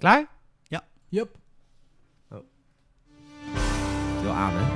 Klaar? Yup. Is Oh. Wel aan, hè?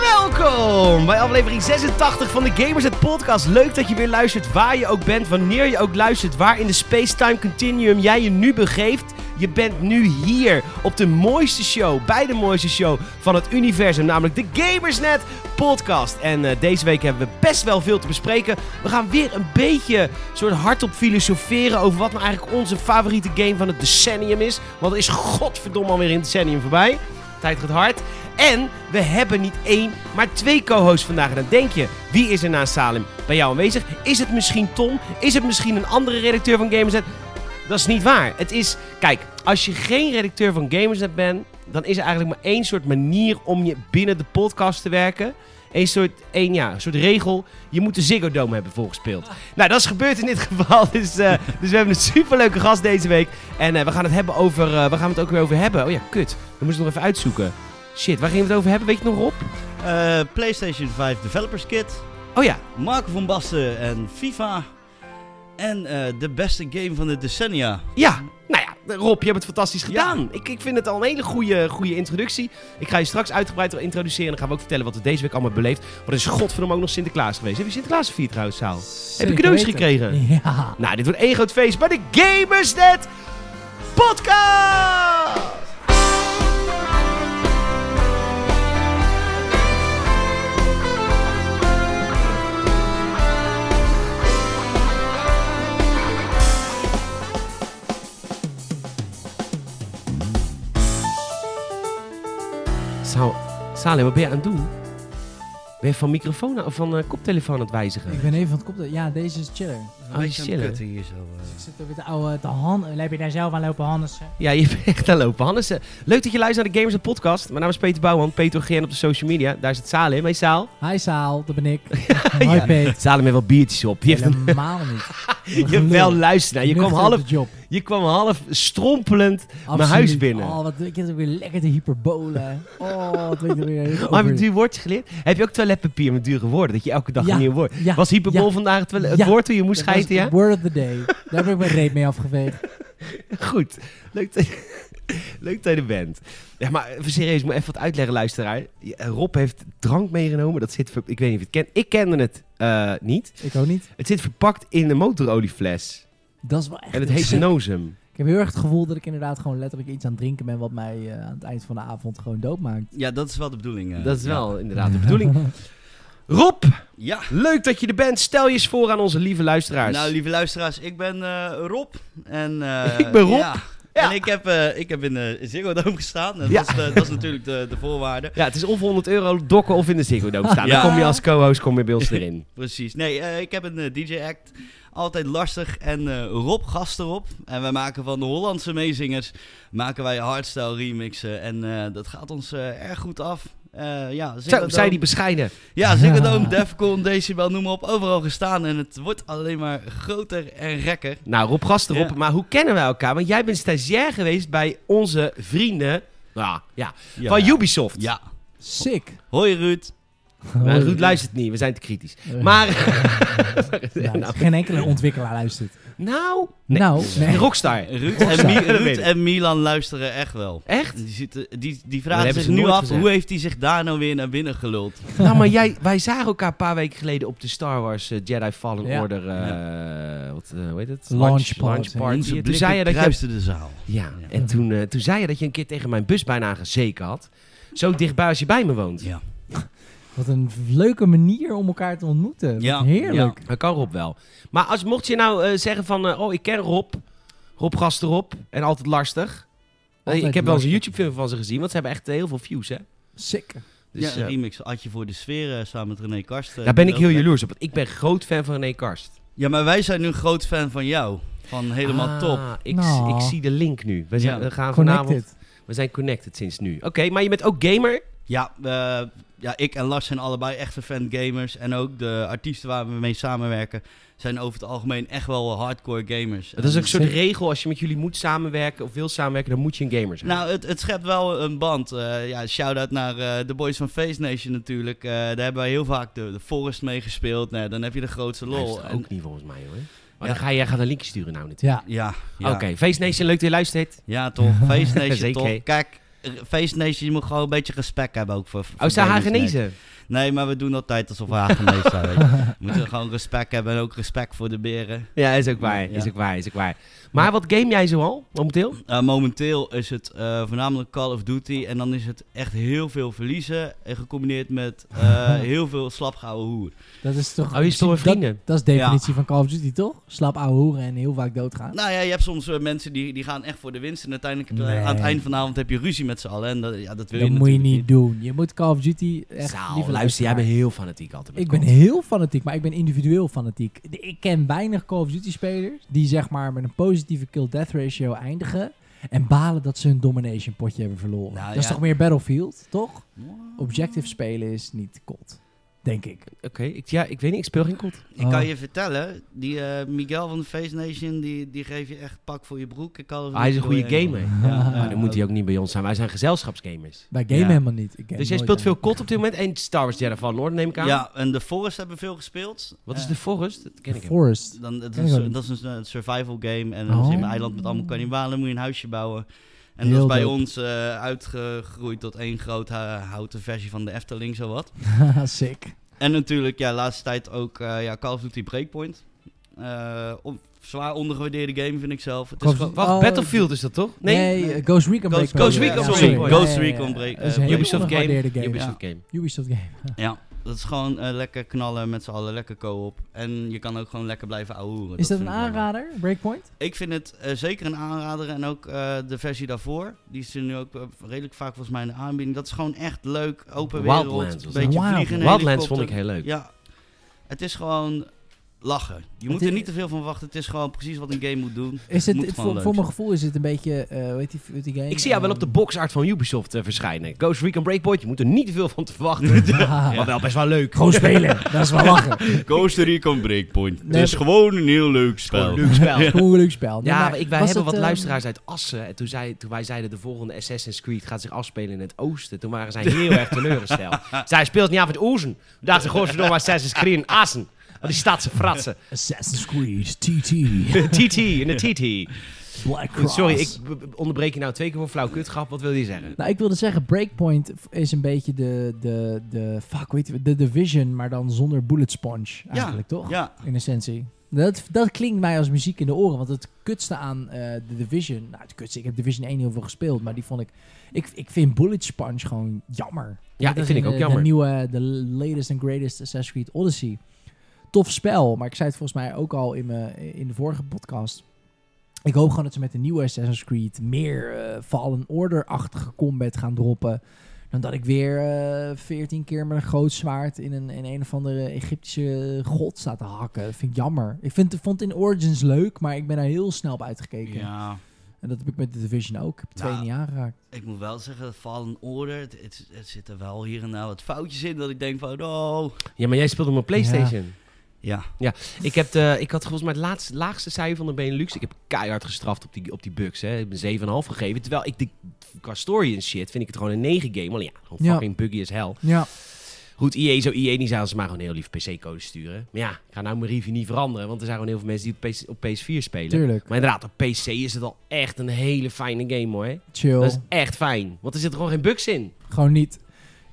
Welkom bij aflevering 86 van de Gamers het Podcast. Leuk dat je weer luistert waar je ook bent, wanneer je ook luistert, waar in de space-time continuum jij je nu begeeft. Je bent nu hier op de mooiste show, bij de mooiste show van het universum, namelijk de Gamersnet Podcast. En eh, deze week hebben we best wel veel te bespreken. We gaan weer een beetje soort hardop filosoferen over wat nou eigenlijk onze favoriete game van het decennium is. Want er is godverdomme alweer een decennium voorbij. Tijd gaat hard. En we hebben niet één, maar twee co-hosts vandaag. En dan denk je, wie is er naast Salim bij jou aanwezig? Is het misschien Tom? Is het misschien een andere redacteur van Gamersnet? Dat is niet waar. Het is, kijk, als je geen redacteur van Gamersnet bent, dan is er eigenlijk maar één soort manier om je binnen de podcast te werken. Eén soort, één, ja, een soort regel. Je moet de Ziggo Dome hebben volgespeeld. Nou, dat is gebeurd in dit geval. Dus, eh, dus we hebben een superleuke gast deze week. En eh, we gaan het hebben over, eh, waar gaan we het ook weer over hebben? Oh ja, kut. Dan moest ik nog even uitzoeken. Shit, waar gingen we het over hebben? Weet je het nog, Rob? Eh, PlayStation 5 Developers Kit, Oh ja, Marco van Basten en FIFA. En eh, de beste game van de decennia. Ja, nou ja, Rob, je hebt het fantastisch Ja. gedaan. Ik, ik vind het al een hele goede, goede introductie. Ik ga je straks uitgebreid introduceren en dan gaan we ook vertellen wat we deze week allemaal beleefd. Want er is godverdomme ook nog Sinterklaas geweest. Heb je Sinterklaas gevierd trouwens, Saal? Heb je cadeaus gekregen? Ja. Nou, dit wordt één groot feest bij de Gamersnet Podcast! Sal Salim, wat ben je aan het doen? Ben je van microfoon aan- of van eh, koptelefoon aan het wijzigen? Ik ben even van het kopte. Ja, deze is chiller. Dus Een Oh, beetje aan het chillen. kutten hier zo. eh. Ik zit er met de oude, de handen. Heb je daar zelf aan lopen handen? Ja, je bent echt aan lopen. Hannes, eh, leuk dat je luistert naar de Gamers Podcast. Mijn naam is Peter Bouwman, Peter GN op de social media. Daar zit Salim. Hey Saal. Hi Saal, dat ben ik. Hoi Peet. Salim heeft wel biertjes op. Die heeft een... Helemaal niet. Jawel, luister nou. Je kwam, Nuchter op half, de job. je kwam half strompelend mijn Absoluut. huis binnen. Oh, wat, ik heb er weer lekker te hyperbolen. Oh, het weet er weer heel goed Oh, heb je een weer. duur woordje geleerd? Heb je ook toiletpapier met dure woorden? Dat je elke dag Ja, een nieuw woord... ja, Was hyperbol ja. vandaag het, wel- het Ja. woord toen je moest Dat was schijten, ja? Word of the day. Daar heb ik mijn reet mee afgeveegd. Goed. Leuk dat, leuk dat je er bent. Ja, maar even serieus, ik moet even wat uitleggen, luisteraar. Ja, Rob heeft drank meegenomen. Dat zit... ver- Ik weet niet of je het kent. Ik kende het eh, niet. Ik ook niet. Het zit verpakt in een motoroliefles. Dat is wel echt En het heel heet sick. Genosum. Ik heb heel erg het gevoel dat ik inderdaad gewoon letterlijk iets aan het drinken ben... wat mij eh, aan het eind van de avond gewoon dood maakt. Ja, dat is wel de bedoeling. eh. Dat is wel inderdaad de bedoeling. Rob, Ja. leuk dat je er bent. Stel je eens voor aan onze lieve luisteraars. Nou, lieve luisteraars, ik ben eh, Rob. En, eh, Ik ben Rob. Ja. Ja. En ik heb, eh, ik heb in de Ziggo Dome gestaan. En Ja. dat, is, de- dat is natuurlijk de, de voorwaarde. Ja, het is of 100 euro dokken of in de Ziggo Dome staan. Ja. Dan kom je als co-host kom je bij ons erin. Precies. Nee, eh, ik heb een DJ-act. Altijd lastig. En eh, Rob gast erop. En wij maken van de Hollandse meezingers... maken wij hardstyle remixen. En eh, dat gaat ons eh, erg goed af. Eh, ja, Ziggo Zo, Dome- zei die bescheiden. Ja, Ziggo Dome, Ja. Defcon, Decibel, noem maar op. Overal gestaan. En het wordt alleen maar groter en gekker. Nou, Rob Gast erop. Ja. Maar hoe kennen wij elkaar? Want jij bent stagiair geweest bij onze vrienden nou, ja, van Ubisoft. Ja. Sick. Hoi Ruud. Maar Ruud luistert niet, we zijn te kritisch. Maar... Ja, nou, Geen enkele ontwikkelaar luistert. nou, nee. Nou, nee. Rockstar. Ruud en, Mi- Ruud en Milan luisteren echt wel. Echt? Die, zitten, die, die Dat vragen hebben zich ze nu nooit af, gezegd. hoe heeft hij zich daar nou weer naar binnen geluld? Nou, maar jij, wij zagen elkaar een paar weken geleden op de Star Wars eh, Jedi Fallen Ja. Order. eh, wat, eh, hoe heet het? Launch party. party. Onze Toen zei je blikken dat je, kruisten de zaal. ja, Ja. en toen, eh, toen zei je dat je een keer tegen mijn bus bijna gezeken had. Zo dichtbij als je bij me woont. Ja. Wat een leuke manier om elkaar te ontmoeten. Wat Ja, Heerlijk. Dat kan Rob wel. Maar als, mocht je nou eh, zeggen van, eh, oh, ik ken Rob. Rob gast erop. En altijd lastig. Eh, Altijd ik heb wel eens een lastig. YouTube-film van ze gezien, want ze hebben echt eh, heel veel views, hè? Sick. Dus, ja, een eh, remix had je voor de sfeer eh, samen met René Karsten. daar ben ik heel Ook. jaloers op, want ik ben groot fan van René Karst. Ja, maar wij zijn nu een groot fan van jou. Van helemaal Ah, top. Ik, Nou. ik zie de link nu. We, zijn, Ja. we gaan vanavond Connected. We zijn connected sinds nu. Oké, maar je bent ook gamer. Ja, eh, ja, ik en Lars zijn allebei echte fan gamers. En ook de artiesten waar we mee samenwerken zijn over het algemeen echt wel hardcore gamers. Dat is ook En- een soort regel. Als je met jullie moet samenwerken of wil samenwerken, dan moet je een gamer zijn. Nou, het, het schept wel een band. Eh, ja, shout-out naar eh, de boys van Face Nation natuurlijk. Eh, daar hebben wij heel vaak de, de Forest mee gespeeld. Nou, dan heb je de grootste Hij is lol. er En- ook niet volgens mij hoor. Maar Ja. dan ga jij gaat een linkje sturen nou natuurlijk. Ja. ja, ja. Oké, Face Nation, leuk dat je luistert. ja, toch. Face Nation, Zeker. toch. Kijk, eh, Face Nation, je moet gewoon een beetje respect hebben ook voor... voor Oh, is dat gamers. Hagenezen? Nee, nee, maar we doen altijd alsof we Hagenees zijn. weet je. We moeten gewoon respect hebben en ook respect voor de beren. Ja, is ook waar, Ja. is ook waar, is ook waar. Maar wat game jij zoal momenteel? Eh, momenteel is het eh, voornamelijk Call of Duty. En dan is het echt heel veel verliezen. En gecombineerd met eh, heel veel slapgehouden hoer. Dat is toch... Oh, je stomme dat- vrienden. Dat, is de Ja. definitie van Call of Duty, toch? Slap ouwe hoeren en heel vaak doodgaan. Nou ja, je hebt soms eh, mensen die, die gaan echt voor de winst. En uiteindelijk heb je- Nee. aan het eind van de avond heb je ruzie met z'n allen. En dat, ja, dat wil dat je moet je natuurlijk niet doen. Je moet Call of Duty echt... Zaal, luister, lieve jij luisteraar. bent heel fanatiek altijd. met Ik ben Call of heel fanatiek, maar ik ben individueel fanatiek. De- Ik ken weinig Call of Duty spelers die zeg maar met een positieve kill-death ratio eindigen. En balen dat ze hun domination potje hebben verloren. Nou, dat is ja. toch meer Battlefield, toch? Wow. Objective spelen is niet kot. Denk ik. Duty. Oké, ik- ja, ik weet niet, ik speel geen kot. Ik kan Oh. je vertellen, die eh, Miguel van de Face Nation, die, die geeft je echt pak voor je broek. Ik kan Ah, hij is een goede gamer. Ja, Maar dan moet hij ook niet bij ons zijn. Wij zijn gezelschapsgamers. Wij gamen Ja. helemaal niet. Ik game Dus jij nooit speelt veel eigenlijk. kot op dit moment en Star Wars Jedi Fallen Order neem ik aan. Ja, en The Forest hebben we veel gespeeld. Wat is Eh, de Forest? Dat ken ik hem. Forest. Dan, dat, Ken is, ik een- ook niet. dat is een eh, survival game. En dan Oh. zit je in een eiland met allemaal kannibalen. moet je een huisje bouwen. En dat Heel is bij dope. ons eh, uitgegroeid tot één groot eh, houten versie van de Efteling, zowat. Haha, Sick. En natuurlijk, ja, laatste tijd ook eh, ja, Call of Duty Breakpoint. Eh, on- zwaar ondergewaardeerde game, vind ik zelf. Het Call is of gewoon... Duty- Wacht, Oh, Battlefield is dat toch? Nee, Nee, nee. eh, Ghost Recon Ghost- Breakpoint. Ghost Recon, Ja, sorry. sorry. Ghost Ja, ja, ja. Recon Break- Dat is eh, een hele Ubisoft game. ondergewaardeerde game. Ubisoft game. Ubisoft game. Ja, dat is gewoon eh, lekker knallen met z'n allen, lekker co-op. En je kan ook gewoon lekker blijven ouwehoeren. Is dat vind een ik wel leuk. aanrader? Breakpoint? Ik vind het eh, zeker een aanrader. En ook eh, de versie daarvoor. Die is er nu ook eh, redelijk vaak volgens mij in de aanbieding. Dat is gewoon echt leuk. Open wereld. Wildlands was beetje dat. Wildlands. vliegen in een Wildlands vond ik helikopter. heel leuk. Ja. Het is gewoon lachen. Je moet is- er niet te veel van wachten. Het is gewoon precies wat een game moet doen. Is het, Moet het- gewoon voor, leuk voor mijn zijn. gevoel is het een beetje, eh hoe heet die, hoe heet die game? Ik zie jou wel op de Ehm, boxart van Ubisoft eh, verschijnen. Ghost Recon Breakpoint, je moet er niet te veel van te verwachten. Maar wel best wel leuk. Gewoon spelen, dat is wel lachen. Coaster Recon Breakpoint. Het Nee, is maar- gewoon een heel leuk Gewoon een leuk spel. Gewoon een leuk spel. Nee, Ja, maar maar ik, wij was hebben wat dat, ehm, luisteraars uit Assen. En toen, zei, toen wij zeiden de volgende Assassin's Creed gaat zich afspelen in het oosten. Toen waren zij heel erg teleurgesteld. Zij speelt niet af in het oosten. We dachten gewoon verdomme Assassin's Creed in Assen. Want die staat ze fratsen. Assassin's Creed, TT, TT in de TT. Black Cross. Sorry, ik b- b- onderbreek je nou twee keer voor flauw kutgrap. Wat wil je zeggen? Nou, ik wilde zeggen, Breakpoint is een beetje de, de, de, fuck, weet je, de Division, maar dan zonder bullet sponge eigenlijk, toch? Ja. In essentie. Dat, dat klinkt mij als muziek in de oren, want het kutste aan eh de Division, nou het kutste, ik heb Division 1 heel veel gespeeld, maar die vond ik, ik, ik vind bullet sponge gewoon jammer. Ja, Net dat als vind in ik ook eh, de, jammer. De nieuwe, de latest and greatest Assassin's Creed Odyssey. Tof spel, maar ik zei het volgens mij ook al in, mijn, in de vorige podcast. Ik hoop gewoon dat ze met de nieuwe Assassin's Creed meer eh, Fallen Order-achtige combat gaan droppen. Dan dat ik weer eh, veertien keer met een groot zwaard in een, in een of andere Egyptische god sta te hakken. Dat vind ik jammer. Ik vind, vond in Origins leuk, maar ik ben daar heel snel op uitgekeken. ja. En dat heb ik met de Division ook. Ik heb twee Nou, niet aangeraakt. Ik moet wel zeggen, Fallen Order, het, het, het zit er wel hier en daar wat foutjes in. Dat ik denk van, oh. Ja, maar jij speelt op mijn PlayStation. Ja. Ik, heb de, ik had volgens mij het laatste, laagste cijfer van de Benelux. Ik heb keihard gestraft op die, op die bugs. Hè. Ik ben 7,5 gegeven. Terwijl ik de qua story en shit vind ik het gewoon een 9 game. Alleen ja, gewoon Ja. fucking buggy as hell. Ja, Goed, IE zo IE niet zouden ze maar gewoon heel lief PC-codes sturen. Maar ja, ik ga nou mijn review niet veranderen. Want er zijn gewoon heel veel mensen die op, PS, 4 spelen. tuurlijk. Maar inderdaad, op PC is het al echt een hele fijne game hoor. hè. Chill. Dat is echt fijn. Want er zitten gewoon geen bugs in. Gewoon niet.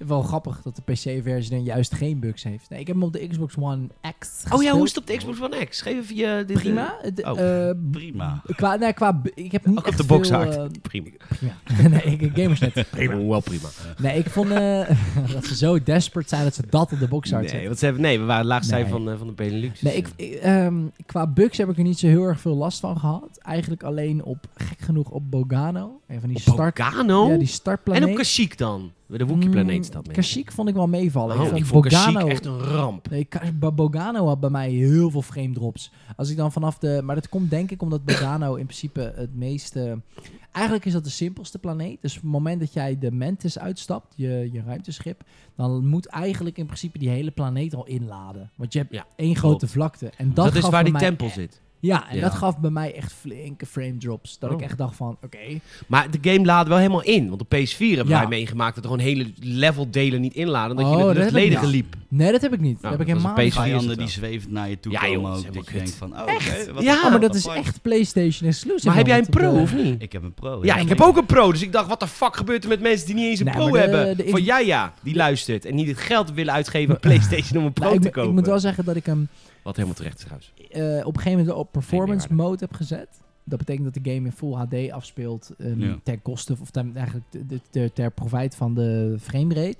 Wel grappig dat de PC-versie dan juist geen bugs heeft. Nee, ik heb hem op de Xbox One X Oh ja, hoe is gespeeld. het op de Xbox One X? Geef even je... Dit, eh, Prima. Het, Oh, eh, prima. Qua, nee, qua, bu- ik heb niet Ook op echt de box veel, hard. eh, prima. prima. nee, ik, gamersnet. Prima. Wel prima. Nee, ik vond eh, dat ze zo desperate zijn dat ze dat op de box hard Nee, zetten. want ze hebben, nee, we waren het laagste Nee. cijfer van, eh, van de Benelux. Nee, ik, ik, ehm, qua bugs heb ik er niet zo heel erg veel last van gehad. Eigenlijk alleen op, gek genoeg, op Bogano. Een van die Op start... Bogano? Ja, die en op startplaneet. Mm, Kashyyyk dan? De Wookiee-planeet is dat, meen ik. Kashyyyk vond ik wel meevallen. Oh, ik vond, ik vond Mm, Kashyyyk Bogano- echt een ramp. Nee, Ka- Bo- Bogano had bij mij heel veel frame drops. Als ik dan vanaf de... Maar dat komt denk ik omdat Bogano in principe het meeste... Eigenlijk is dat de simpelste planeet. Dus op het moment dat jij de Mantis uitstapt, je, je ruimteschip... dan moet eigenlijk in principe die hele planeet al inladen. Want je hebt Ja, één grote vlakte. En dat, Dat, is gaf waar bij die mij tempel echt- zit. Ja, en Ja. dat gaf bij mij echt flinke frame drops. Dat Oh. ik echt dacht van, oké... Maar de game laadde wel helemaal in. Want op PS4 hebben Ja. wij meegemaakt dat er gewoon hele level delen niet inladen. Dat Oh, je dat met heb het ik leden niet. liep. Nee, dat heb ik Nou, niet. dat heb ik dat was helemaal een niet. PC is het Vijanden wel. die zweeft naar je toe Ja, joh, komen dat is ook. helemaal Dat kut. je denkt van, oh, oké, wat Ja, een Ja, maar dat apart. is echt PlayStation exclusive. Maar heb jij man, een want pro op de- of niet? Ik heb een pro. Ja, ik heb ook een pro. Dus ik dacht, wat de fuck gebeurt er met mensen die niet eens een Nee, pro maar de- hebben? de- Van ik- jij ja, die luistert. En niet het geld willen uitgeven aan PlayStation om een pro Nou, ik, te mo- kopen. ik moet wel zeggen dat ik hem Wat helemaal terecht is trouwens. eh, op een gegeven moment op performance Nee, nee, mode heb gezet. Dat betekent dat de game in full HD afspeelt ehm, Ja. ten koste of ten, eigenlijk te- te- te- ter profijt van de framerate.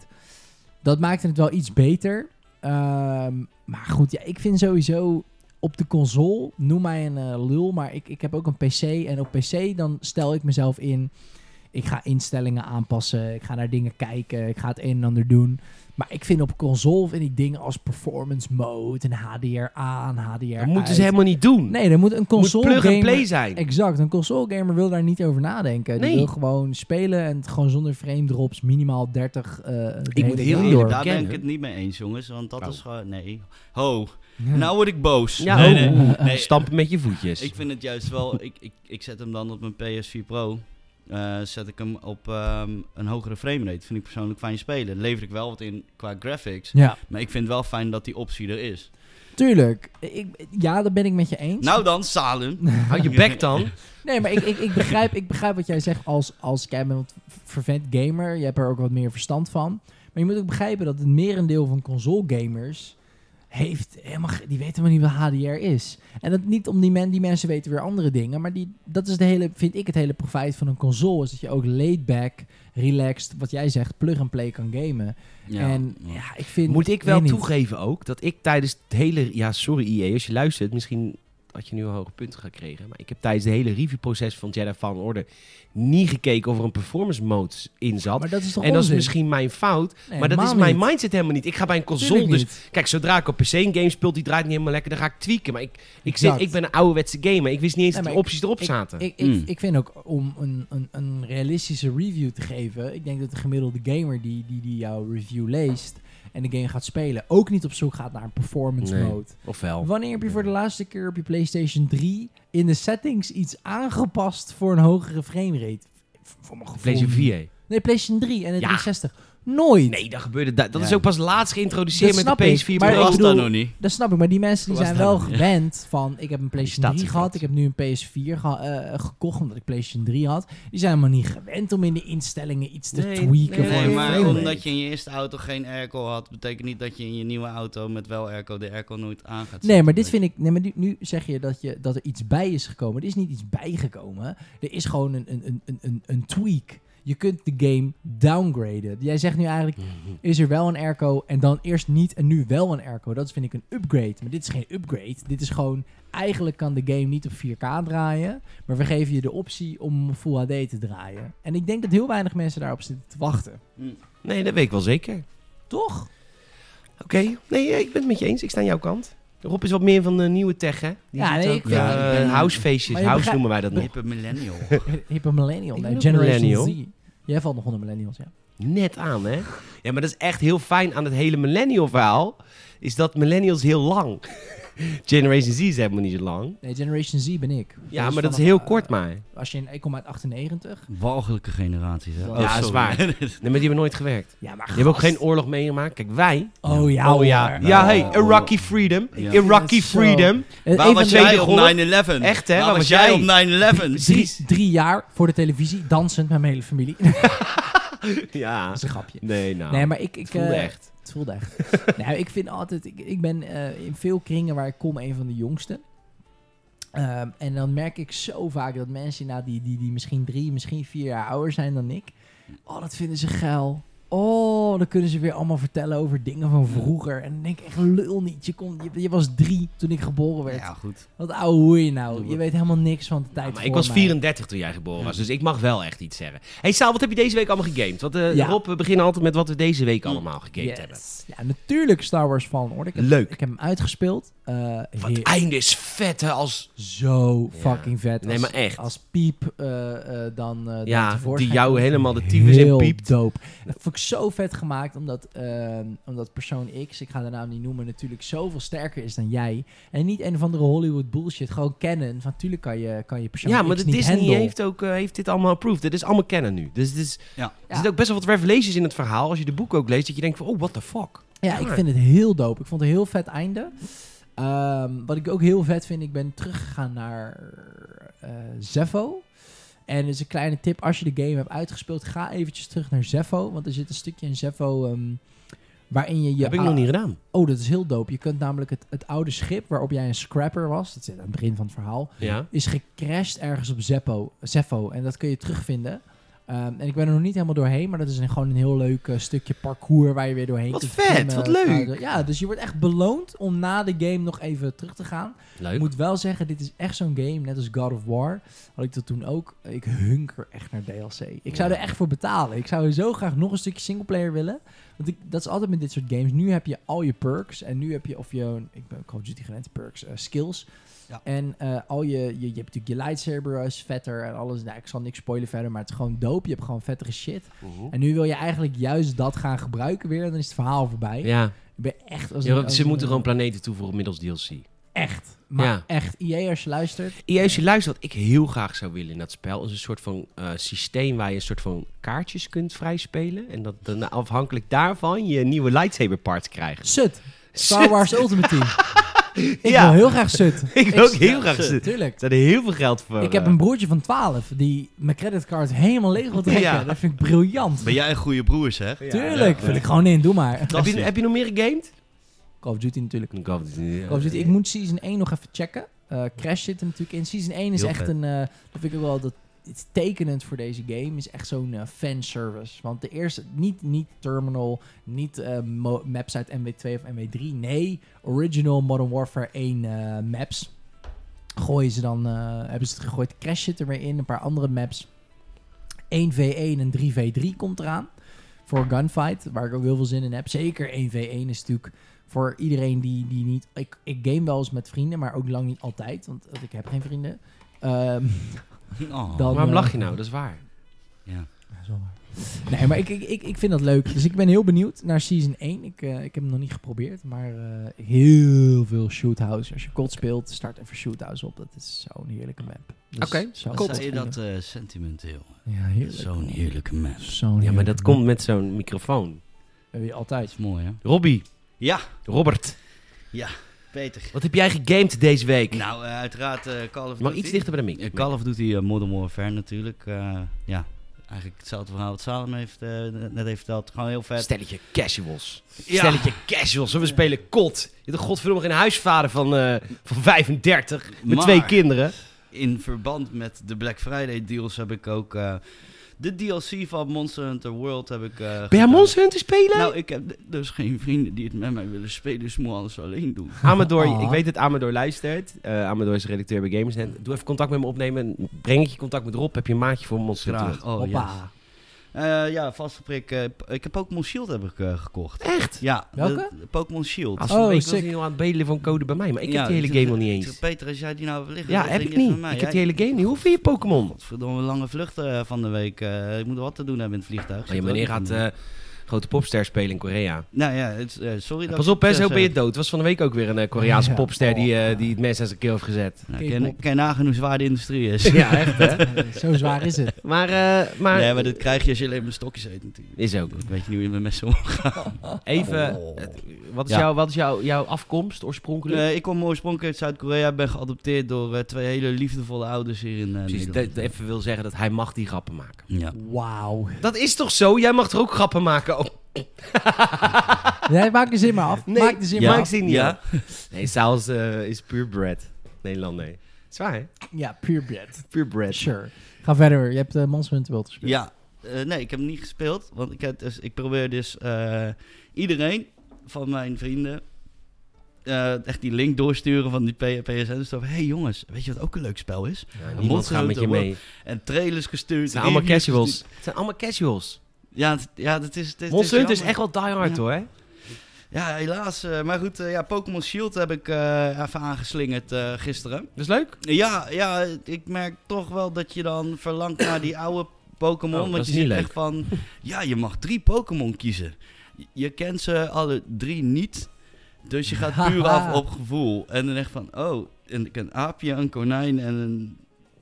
Dat maakte het wel iets beter. Ehm, maar goed, ja, ik vind sowieso op de console, noem mij een eh, lul, maar ik, ik heb ook een PC. En op PC dan stel ik mezelf in. Ik ga instellingen aanpassen, ik ga naar dingen kijken, ik ga het een en ander doen. Maar ik vind op console vind ik dingen als performance mode en HDR aan, HDR Dat moeten uit. ze helemaal niet doen. Nee, dan moet een Het moet console plug and gamer... play zijn. Exact, een console gamer wil daar niet over nadenken. Nee. Die wil gewoon spelen en het gewoon zonder frame drops minimaal 30 eh de Ik moet heel hele dag eerlijk door. Daar ben ik Kennen. het niet mee eens, jongens. Want dat Oh. is gewoon... Nee. Ho, Ja. nou word ik boos. Ja, nee, oh, nee. oeh, Nee. Stampen met je voetjes. Ik vind het juist wel... Ik, ik, ik zet hem dan op mijn PS4 Pro. eh, zet ik hem op ehm, een hogere framerate. Vind ik persoonlijk fijn spelen. Lever ik wel wat in qua graphics. Ja, Maar ik vind wel fijn dat die optie er is. tuurlijk. Ik, ja, dat ben ik met je eens. Nou dan, Salem. Houd je bek dan. Nee, maar ik, ik, ik, begrijp, ik begrijp wat jij zegt als, als jij bent een vervent gamer. Je hebt er ook wat meer verstand van. Maar je moet ook begrijpen dat het merendeel van console gamers heeft helemaal, ge- die weten helemaal niet wat HDR is. En dat niet om die, men, die mensen weten weer andere dingen, maar die, dat is de hele, vind ik het hele profijt van een console, is dat je ook laid back, relaxed, wat jij zegt, plug and play kan gamen. en ja, ik vind... Moet ik weet wel niet. toegeven ook dat ik tijdens het hele... Ja, sorry IE, als je luistert, misschien had je nu een hoge punt gekregen. Maar ik heb tijdens het hele reviewproces van Jedi Fallen Order niet gekeken of er een performance mode in zat. Maar dat is toch en dat is onzin? misschien mijn fout. Nee, maar dat is helemaal mijn niet. mindset helemaal niet. Ik ga bij een console Tuurlijk dus... niet. Kijk, zodra ik op PC een game speel, die draait niet helemaal lekker, dan ga ik tweaken. Maar ik, ik, zit, Exact. ik ben een ouderwetse gamer. Ik wist niet eens dat Nee, de maar opties erop zaten. Ik, ik, Mm. ik vind ook om een, een, een realistische review te geven. Ik denk dat de gemiddelde gamer die, die, die jouw review leest en de game gaat spelen, ook niet op zoek gaat naar een performance Nee. mode. Ofwel. Wanneer heb je voor de laatste keer op je PlayStation 3 in de settings iets aangepast voor een hogere framerate? V- Voor mijn gevoel. PlayStation 4. Nee, PlayStation 3 en de Ja. 360. Nooit. Nee, dat gebeurde. Dat, dat Ja. is ook pas laatst geïntroduceerd Dat met de snap PS4 ik, Pro. maar dat ik was bedoel- dat nog niet. Dat snap ik, maar die mensen die Hoe was nou- zijn dat wel dan? gewend van... ik heb een PlayStation 3 Statiegeld. gehad, ik heb nu een PS4 geha- eh, gekocht... omdat ik PlayStation 3 had. Die zijn helemaal niet gewend om in de instellingen iets te Nee, tweaken. nee, voor Nee, een maar frame rate. omdat je in je eerste auto geen airco had, betekent niet dat je in je nieuwe auto met wel airco de airco nooit aan gaat zetten. Nee, maar dit vind ik. Nee, maar nu- nu zeg je dat, je dat er iets bij is gekomen. Er is niet iets bijgekomen. Er is gewoon een, een, een- een, een, een tweak. Je kunt de game downgraden. Jij zegt nu eigenlijk: Mhm. is er wel een airco en dan eerst niet en nu wel een airco? Dat vind ik een upgrade. Maar dit is geen upgrade. Dit is gewoon. Eigenlijk kan de game niet op 4K draaien. Maar we geven je de optie om hem op Full HD te draaien. En ik denk dat heel weinig mensen daarop zitten te wachten. Nee, dat weet ik wel zeker. Toch? Oké. Nee, eh, ik ben het met je eens. Ik sta aan jouw kant. Rob is wat meer van de nieuwe tech, hè? Die Ja, zit nee, ook, ik vind- eh, ik ben- housefeestjes. Maar House je begrijpt- noemen wij dat nog. Hippe millennial. Hippe millennial. Ik Nee, ben ook Generation millennial. Z. Jij valt nog onder millennials, ja. Net aan, hè? Ja, maar dat is echt heel fijn aan het hele millennial verhaal. Is dat millennials heel lang. Generation Z is helemaal niet zo lang. Nee, Generation Z ben ik. Ja, Dus maar dat is vanaf, heel eh, kort maar. Als je in, ik kom uit 98. Walgelijke generaties, hè? Ja, Oh, is sorry. waar. Nee, maar die hebben nooit gewerkt. Ja, maar Die hebben ook geen oorlog meegemaakt. Kijk, wij. Oh ja, oh ja. hoor. Ja, Nou, hey, oh. Iraqi Freedom. Ja. Iraqi Zo. Freedom. Eh, Waar een was van de jij tweede op golf. 9-11? Echt, hè? Waar Waar was was jij jij? op 9-11? Drie, drie jaar voor de televisie dansend met mijn hele familie. dat Ja. is een grapje. Nee, nou. Nee, maar ik... ik het voelde eh, echt. Het voelde echt. nou, ik vind altijd... Ik, ik ben eh, in veel kringen waar ik kom een van de jongsten. Ehm, en dan merk ik zo vaak dat mensen nou, die, die, die misschien drie, misschien vier jaar ouder zijn dan ik... Oh, dat vinden ze geil. Oh, dan kunnen ze weer allemaal vertellen over dingen van vroeger. En dan denk ik echt, lul niet. Je, kon, je, je was drie toen ik geboren werd. Ja, goed. Wat ouwe hoer je nou? Doe Je het. weet helemaal niks van de tijd maar voor ik was mij. 34 toen jij geboren was, dus ik mag wel echt iets zeggen. hey Saal, wat heb je deze week allemaal gegamed? Want eh, Ja. Rob, we beginnen altijd met wat we deze week allemaal gegamed Yes. hebben. Ja, natuurlijk Star Wars Fallen Order. Ik heb, Leuk. Ik heb hem uitgespeeld. Eh, Want heer- het einde is vet, hè, als... zo Ja. fucking vet. Nee, als, maar echt. Als piep eh, eh, dan, eh, dan Ja, tevoorschijn die jou komt. helemaal de tyfus in Heel piept. dope. Dat vond ik zo vet gemaakt, omdat, ehm, omdat persoon X, ik ga de naam niet noemen, natuurlijk zoveel sterker is dan jij. En niet een of andere Hollywood bullshit, gewoon kennen. Van tuurlijk kan je, kan je persoon Ja, X maar de niet Disney handelen. heeft, ook, eh, heeft dit allemaal approved. Dit is allemaal kennen nu. Dus het is, Ja. er zitten ook best wel wat revelations in het verhaal. Als je de boek ook leest, dat je denkt van, oh, what the fuck. Ja, ik vind het heel dope. Ik vond het een heel vet einde. Ehm, wat ik ook heel vet vind, ik ben teruggegaan naar eh Zeffo. En dus een kleine tip, als je de game hebt uitgespeeld, ga eventjes terug naar Zeffo. Want er zit een stukje in Zeffo ehm, waarin je je... heb ik nog niet gedaan. Oh, dat is heel dope. Je kunt namelijk het, het oude schip waarop jij een scrapper was, dat zit aan het begin van het verhaal, Ja. is gecrashed ergens op Zeppo, Zeffo. En dat kun je terugvinden. Ehm, en ik ben er nog niet helemaal doorheen, maar dat is een, gewoon een heel leuk eh, stukje parcours waar je weer doorheen Wat kunt vet, klimmen, wat leuk. kruiden. Ja, dus je wordt echt beloond om na de game nog even terug te gaan. Leuk. Ik moet wel zeggen, dit is echt zo'n game, net als God of War. Had ik dat toen ook. Ik hunker echt naar DLC. Ik zou er echt voor betalen. Ik zou zo graag nog een stukje singleplayer willen. Want ik, dat is altijd met dit soort games. Nu heb je al je perks. En nu heb je, of je, ik ben Call of Duty gewend, perks, eh, skills. Ja. En eh, al je, je, je hebt natuurlijk je lightsaber is vetter en alles. Nou, ik zal niks spoilen verder, maar het is gewoon dope. Je hebt gewoon vettere shit. En nu wil je eigenlijk juist dat gaan gebruiken weer. En dan is het verhaal voorbij. Ja, Ik ben echt... Als Ja, een- als ze een- moeten gewoon planeten toevoegen middels DLC. Echt. Maar Ja. echt, IE als je luistert. Ja, als je luistert, wat ik heel graag zou willen in dat spel, is een soort van eh, systeem waar je een soort van kaartjes kunt vrijspelen. En dat dan afhankelijk daarvan je nieuwe lightsaber parts krijgt. Sut. Star Wars Ultimate Team. Ik Ja. wil heel graag Sut. Ik wil ook Ik- heel ja, graag shit. zitten. Tuurlijk. Er staat heel veel geld voor. Ik heb eh, een broertje van 12 die mijn creditcard helemaal leeg wil trekken. Ja. Dat vind ik briljant. Ben jij een goede broer, zeg? Tuurlijk. ja. Vul ik gewoon in. Doe maar. heb, Fantastisch. je, heb je nog meer gegamed? Call of Duty natuurlijk. Ik hoop het niet. Call of Duty. dus Ik moet Season 1 nog even checken. Eh, Crash zit er natuurlijk in. Season 1 is Heel echt vet. een... eh, dat vind ik ook wel... Dat, het is tekenend voor deze game is echt zo'n eh, fanservice. Want de eerste, niet, niet Terminal, niet eh, mo- maps uit MW2 of MW3. Nee, original Modern Warfare 1 eh, maps. Gooien ze dan, eh, hebben ze het gegooid. Crash zit er weer in, een paar andere maps. 1v1 en 3v3 komt eraan. Voor een gunfight, waar ik ook heel veel zin in heb. Zeker 1v1 is natuurlijk voor iedereen die, die niet... Ik, ik game wel eens met vrienden, maar ook lang niet altijd. Want want ik heb geen vrienden. Ehm, Oh. dan, Waarom eh, lach je nou? Dat is waar. Ja. ja, zomaar. Nee, maar ik, ik, ik, ik vind dat leuk. Dus ik ben heel benieuwd naar Season 1. Ik, eh, ik heb hem nog niet geprobeerd, maar eh, heel veel shoothouse. Als je COD speelt, start even shoothouse op. Dat is zo'n heerlijke map. Dus Oké, zo- Klopt. Zei je dat eh, sentimenteel? Ja, heerlijk. Zo'n heerlijke mens. Zo'n nou? Ja, maar dat heerlijke map. komt met zo'n microfoon. Heb je Dat altijd. is mooi, hè? Robbie, Ja, Robert, Peter. wat heb jij gegamed deze week? Nou, eh, uiteraard eh, Call of Mag Duty. iets dichter bij de Ja, mic. Call of Duty eh, Modern Warfare natuurlijk. eh, ja, eigenlijk hetzelfde verhaal wat Salem heeft, eh, net heeft verteld. Gewoon heel vet. Stelletje casuals. Ja. Stelletje casuals. En We spelen kot. Je bent godverdomme geen huisvader van, eh, van 35 met Maar- twee kinderen. In verband met de Black Friday deals heb ik ook eh, de DLC van Monster Hunter World heb ik... eh, Ben jij gedaan. Monster Hunter spelen? Nou, ik heb d- dus geen vrienden die het met mij willen spelen, dus ik moet alles alleen doen. Amador, Ah. ik weet dat Amador luistert. Eh, Amador is redacteur bij Gamersnet. Doe even contact met me opnemen. Breng ik je contact met Rob. Heb je een maatje voor Monster Hunter? Graag. Oh, Hoppa. yes. Eh, ja, vaste prik. eh, p- ik heb Pokémon Shield heb ik eh, gekocht. Echt? Ja, de- Welke? de Pokémon Shield. Als Oh, oh, ik was sick. heel aan het bedelen van code bij mij, maar ik Ja, heb die hele ik- game nog niet ik zeg, eens. Peter, als jij die nou liggen... Ja, dat heb ding ik is niet. van mij. Oh, Ik Ja, heb die hele game niet. Hoeveel je Pokémon? Godverdomme lange vlucht eh, van de week. Eh, ik moet wat te doen hebben in het vliegtuig. Oh, je Zit er meneer ook niet gaat in. eh, grote popster spelen in Korea. Nou ja, het, is, eh, sorry dat... Pas op, hè, ik- zo ben je dood. Het was van de week ook weer een eh, Koreaanse Ja. popster die, eh, Oh. die het mes aan zijn keel heeft gezet. Nou, Kijk, ken, Bob. ken nagaan hoe zwaar de industrie is. Ja, echt, hè? Eh, Zo zwaar is het. Maar, eh, maar, Nee, maar dat krijg je als je alleen maar stokjes eet natuurlijk. is ook. Ik weet je nu in mijn messen omgaan. Even, Oh. eh, wat is, Ja. jouw, wat is jouw, jouw afkomst oorspronkelijk? Eh, ik kom oorspronkelijk uit Zuid-Korea. ben geadopteerd door eh, twee hele liefdevolle ouders hier in eh, Precies, dat Nederland. dat even wil zeggen dat hij mag die grappen maken. Ja. Wauw. Dat is toch zo? Jij mag er ook grappen maken? Oh, Nee, maak de zin maar af. nee, maak de zin ja. maar Maak af. ze niet Ja. af. dus Nee, Saal is, eh, is puur bread. Nederlander. Zwaar, hè? Ja, purebred. Puur bread. Sure. Ga verder. Je hebt eh, Monster Hunter World gespeeld. Ja, eh, nee, ik heb hem niet gespeeld. Want ik, heb dus, ik probeer dus eh, iedereen van mijn vrienden eh, echt die link doorsturen van die P- PSN. Dus hé hey jongens, weet je wat ook een leuk spel is? niemand gaat met je mee. Het En trailers gestuurd. zijn allemaal reviews casuals. gestuurd. Het zijn allemaal casuals. Ja, het- ja, dat is... dit Monster Hunter is dus jammer. echt wel die hard Ja. hoor. hè? Ja, helaas. eh, maar goed, eh, ja, Pokémon Shield heb ik eh, even aangeslingerd eh, gisteren. Dat is leuk. Ja, ja, ik merk toch wel dat je dan verlangt naar die oude Pokémon. Oh, dat want is je niet ziet leuk. echt van, ja, je mag drie Pokémon kiezen. Je, je kent ze alle drie niet. Dus je gaat puur af op gevoel. En dan echt van, oh, en ik een aapje, een konijn en een,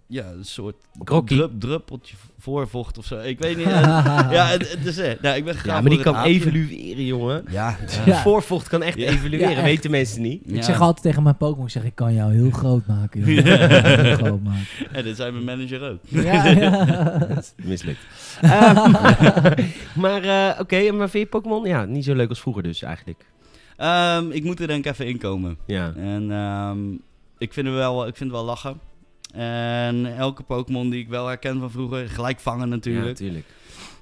ja, een soort Grokkie. drup, druppeltje voorvocht of zo. Ik weet niet. eh, ja, het, het is, eh, nou, ik ben gegaan Ja, maar voor die het kan aapje. evolueren, jongen. Ja, Ja. Voorvocht kan echt Ja. evolueren, Ja, echt. weten mensen niet. Ik Ja. zeg altijd tegen mijn Pokémon, ik zeg ik kan jou heel groot maken. joh. Ja. Heel groot maken. En dat zijn mijn manager ook. Ja, ja. Mislukt. Ehm, maar eh, oké, maar vind je Pokémon? Ja, niet zo leuk als vroeger dus eigenlijk. Ehm, ik moet er denk ik even inkomen. Ja. En ehm, ik, vind het wel, ik vind het wel lachen. En elke Pokémon die ik wel herken van vroeger, gelijk vangen Ja, natuurlijk. tuurlijk.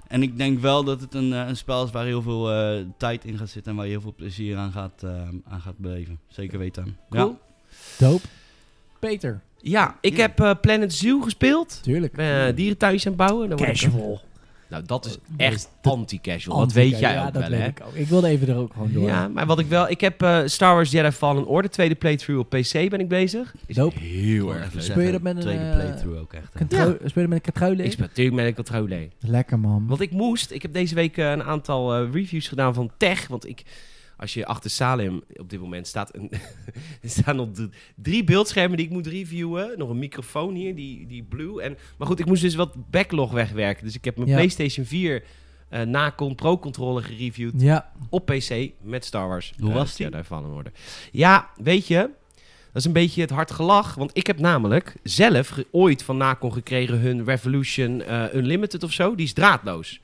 en ik denk wel dat het een, eh, een spel is waar heel veel eh, tijd in gaat zitten en waar je heel veel plezier aan gaat, ehm, aan gaat beleven. Zeker weten. Cool. Ja. Dope. Peter, Ja, ik Ja. heb eh, Planet Zoo gespeeld. tuurlijk. Eh dierenthuis aan het bouwen. Dan word ik- Casual. Nou, dat is Nee, echt anti-casual. Dat weet jij ja, ook dat wel, weet hè? Ik, ook. ik wilde even er ook gewoon door. Ja, maar wat ik wel... Ik heb eh, Star Wars Jedi Fallen Order, tweede playthrough op PC ben ik bezig. Is Dope. Heel erg leuk. Speel je dat met een, Tweede eh, playthrough ook echt. hè. Contro- Spelen met een controle? Ik speel natuurlijk met een controller. Lekker man. Want ik moest... Ik heb deze week eh, een aantal eh, reviews gedaan van tech. Want ik... Als je achter Salem op dit moment staat... Een, er staan nog drie- drie beeldschermen die ik moet reviewen. Nog een microfoon hier, die, die blue. En, maar goed, ik moest dus wat backlog wegwerken. Dus ik heb mijn Ja. PlayStation 4 eh Nacon Pro controller gereviewd. Ja, op PC met Star Wars. Hoe Eh, was die? Jedi Fallen Order. Ja, weet je, dat is een beetje het hard gelach. Want ik heb namelijk zelf ge- ooit van Nacon gekregen hun Revolution eh, Unlimited of zo. Die is draadloos.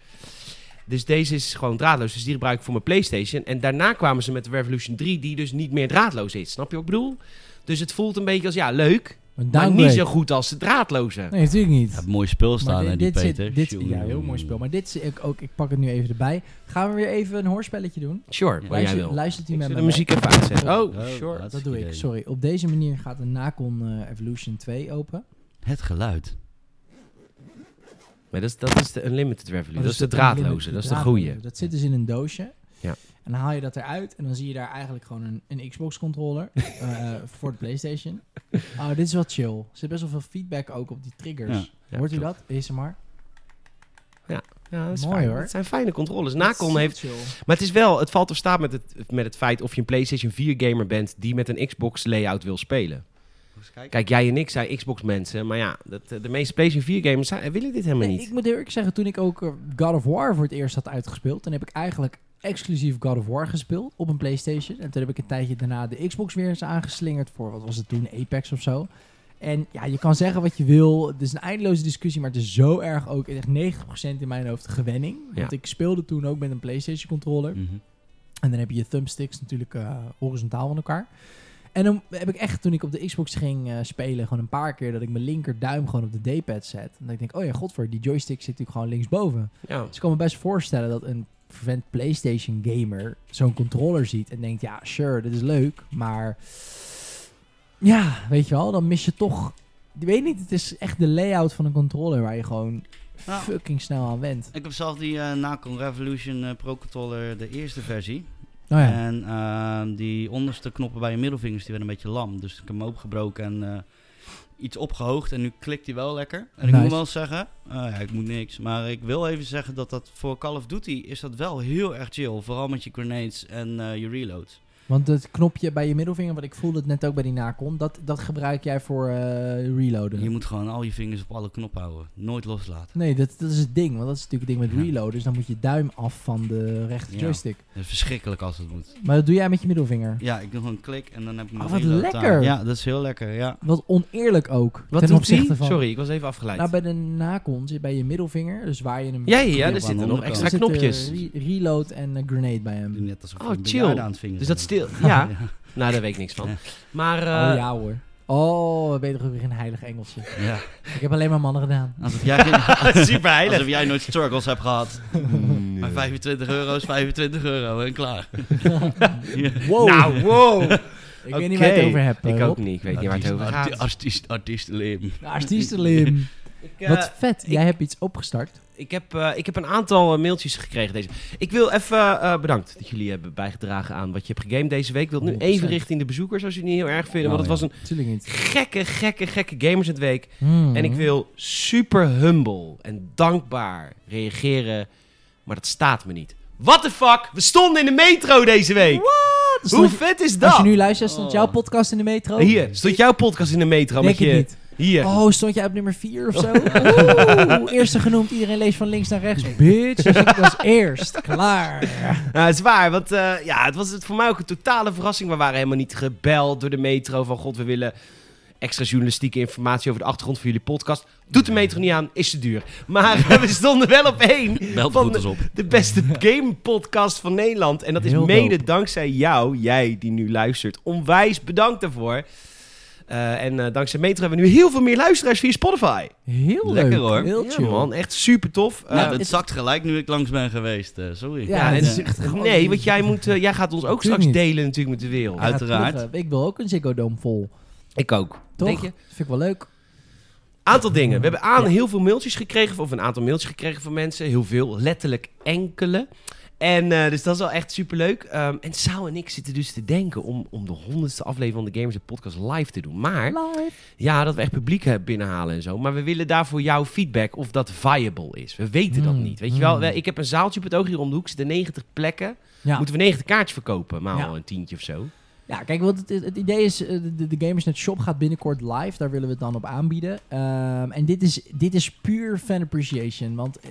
Dus deze is gewoon draadloos. Dus die gebruik ik voor mijn PlayStation. En daarna kwamen ze met de Revolution 3, die dus niet meer draadloos is. Snap je wat ik bedoel? Dus het voelt een beetje als, ja, leuk. een Maar downgrade. niet zo goed als de draadloze. Nee, natuurlijk niet. Ja, mooi spul staan, hè, dit, die dit zit- Peter. dit, Tjoe. ja, heel mooi spel. Maar dit is ik ook, ik pak het nu even erbij. Gaan we weer even een hoorspelletje doen? Sure, wat Oh, jij Luistert- wil. Luistert u Ik met zet me de mee? muziek even uitzetten. Oh, Oh, sure. wat Dat een doe ik, idee. sorry. Op deze manier gaat de Nacon eh, Evolution 2 open. Het geluid. Maar dat is, dat is de Unlimited Revolution. Maar Oh, dat is de dus draadloze, dat is de draadloze. goeie. Dat zit dus in een doosje. Ja. En dan haal je dat eruit en dan zie je daar eigenlijk gewoon een, een Xbox-controller eh, voor de PlayStation. Oh, dit is wel chill. Er zit best wel veel feedback ook op die triggers. Ja, Hoort u klopt. dat? Is maar. Ja, dat is Mooi, fijn. hoor. Het zijn fijne controles. Nacon heeft... Chill. Maar het is wel... Het valt of staat met het, met het feit of je een PlayStation 4 gamer bent... die met een Xbox layout wil spelen. Kijk, jij en ik zijn Xbox mensen. Maar ja, dat, eh, de meeste PlayStation 4 gamers zijn- willen dit helemaal Nee, niet. Ik moet eerlijk zeggen, toen ik ook eh, God of War voor het eerst had uitgespeeld, dan heb ik eigenlijk exclusief God of War gespeeld op een PlayStation. En toen heb ik een tijdje daarna de Xbox weer eens aangeslingerd voor, wat was het toen, Apex of zo. En ja, je kan zeggen wat je wil. Het is een eindeloze discussie, maar het is zo erg ook echt 90% in mijn hoofd gewenning. Want Ja. ik speelde toen ook met een PlayStation controller. Mhm. En dan heb je je thumbsticks natuurlijk eh, horizontaal van elkaar. En dan heb ik echt, toen ik op de Xbox ging eh, spelen, gewoon een paar keer dat ik mijn linkerduim gewoon op de D-pad zet. En dat ik denk, oh ja, godver, die joystick zit natuurlijk gewoon linksboven. Ja. Dus ik kan me best voorstellen dat een vervent PlayStation gamer zo'n controller ziet en denkt, ja, sure, dit is leuk, maar ja, weet je wel, dan mis je toch... Ik weet niet, het is echt de layout van een controller waar je gewoon Nou. fucking snel aan went. Ik heb zelf die eh, Nacon Revolution eh, Pro Controller, de eerste versie. Nou ja, En ehm, die onderste knoppen bij je middelvingers die werden een beetje lam. Dus ik heb hem opengebroken en eh, iets opgehoogd. En nu klikt hij wel lekker. En ik Nice. moet wel zeggen, eh, ja, ik moet niks. Maar ik wil even zeggen dat dat voor Call of Duty is dat wel heel erg chill. Vooral met je grenades en eh, je reloads. Want het knopje bij je middelvinger, wat ik voelde het net ook bij die nakon, dat, dat gebruik jij voor eh, reloaden. Je moet gewoon al je vingers op alle knoppen houden. Nooit loslaten. Nee, dat, dat is het ding, want dat is natuurlijk het ding met Ja. reloaden. Dus dan moet je duim af van de rechter Ja. joystick. Dat is verschrikkelijk als het moet. Maar dat doe jij met je middelvinger. Ja, ik doe gewoon klik en dan heb ik mijn Oh, wat reload lekker. aan. Ja, dat is heel lekker, ja. Wat oneerlijk ook. Wat ten doet opzichte die? van. Sorry, ik was even afgeleid. Nou, bij de nakon zit bij je middelvinger, dus waar je hem. ja, ja, ja, aan er de zitten nog onderkant. extra zitten knopjes. eh, re- reload en eh, grenade bij hem. Net alsof Oh, ik een chill. bejaarde aan het vingeren Dus dat ben. stil... Ja, nou, daar weet ik niks van. Ja. Maar... eh, oh ja hoor. Oh, we ben je toch ook weer een heilig Engelsje. Ja. Ik heb alleen maar mannen gedaan. Alsof jij, geen- Super heilig. alsof jij nooit struggles hebt gehad. Maar 25 euro is 25 euro en klaar. Ja. Wow. Nou, wow. Nou, ik weet niet waar je het over hebt. Ik eh, ook Rob. niet. Ik weet niet waar het over Artiest- gaat. Artiest, artiest, lim. Artiestenlim. Ik, eh, Wat vet. ik- Jij hebt iets opgestart. Ik heb, eh, ik heb een aantal eh, mailtjes gekregen deze. Ik wil even eh, bedankt dat jullie hebben bijgedragen aan wat je hebt gegamed deze week. Ik wil het nu 100%. even richting de bezoekers, als jullie het niet heel erg vinden. Oh, want het ja. was een Tuurlijk niet. gekke, gekke, gekke Gamers het Week. Hmm. En ik wil super humble en dankbaar reageren. Maar dat staat me niet. What the fuck? We stonden in de metro deze week. Dus Hoe stond je- vet is Als je dat? nu luistert, stond jouw Oh. podcast in de metro? Hier, stond jouw podcast in de metro Denk met ik je... niet. Hier. Oh, stond jij op nummer 4 of zo? Oeh, eerste genoemd. Iedereen leest van links naar rechts. Bitch, dus ik was eerst. Klaar. Nou, het is waar, want eh, ja, het was het voor mij ook een totale verrassing. We waren helemaal niet gebeld door de metro van... God, we willen extra journalistieke informatie over de achtergrond van jullie podcast. Doet de metro niet aan, is te duur. Maar we stonden wel op één Bel de van eens op. de Nou, beste game podcast van Nederland. En dat is Heel mede dope. dankzij jou, jij die nu luistert. Onwijs bedankt daarvoor. Eh, en eh, dankzij Metro hebben we nu heel veel meer luisteraars via Spotify. Heel Lekker, leuk. hoor. Heel Ja, chill. man, echt super tof. Eh, Ja, het- Nou, dat zakt gelijk nu ik langs ben geweest. eh, sorry. Ja, Ja, het en- is echt gewoon- nee, want jij, moet, eh, jij gaat ons ook Natuurlijk straks niet. delen natuurlijk met de wereld. Ja, Uiteraard. tuurlijk. Ik wil ook een Ziggo Dome vol. Ik ook. Toch? Denk je? Vind ik wel leuk. Aantal dingen. We hebben aan Ja. heel veel mailtjes gekregen, of een aantal mailtjes gekregen van mensen. Heel veel, letterlijk enkele. En eh, dus dat is wel echt superleuk. Ehm en Sao en ik zitten dus te denken om, om de honderdste aflevering van de Gamers Podcast live te doen. Maar Live. ja, dat we echt publiek eh, binnenhalen en zo. Maar we willen daarvoor jouw feedback of dat viable is. We weten dat Hmm, niet. Weet je wel, hmm. ik heb een zaaltje op het oog hier om de hoek. Er zitten 90 plekken. Ja. Moeten we 90 kaartjes verkopen? Maar Ja. al een tientje of zo. ja, kijk, want het, het idee is, eh, de, de Gamersnet Shop gaat binnenkort live. Daar willen we het dan op aanbieden. Ehm, en dit is, dit is puur fan appreciation. Want eh,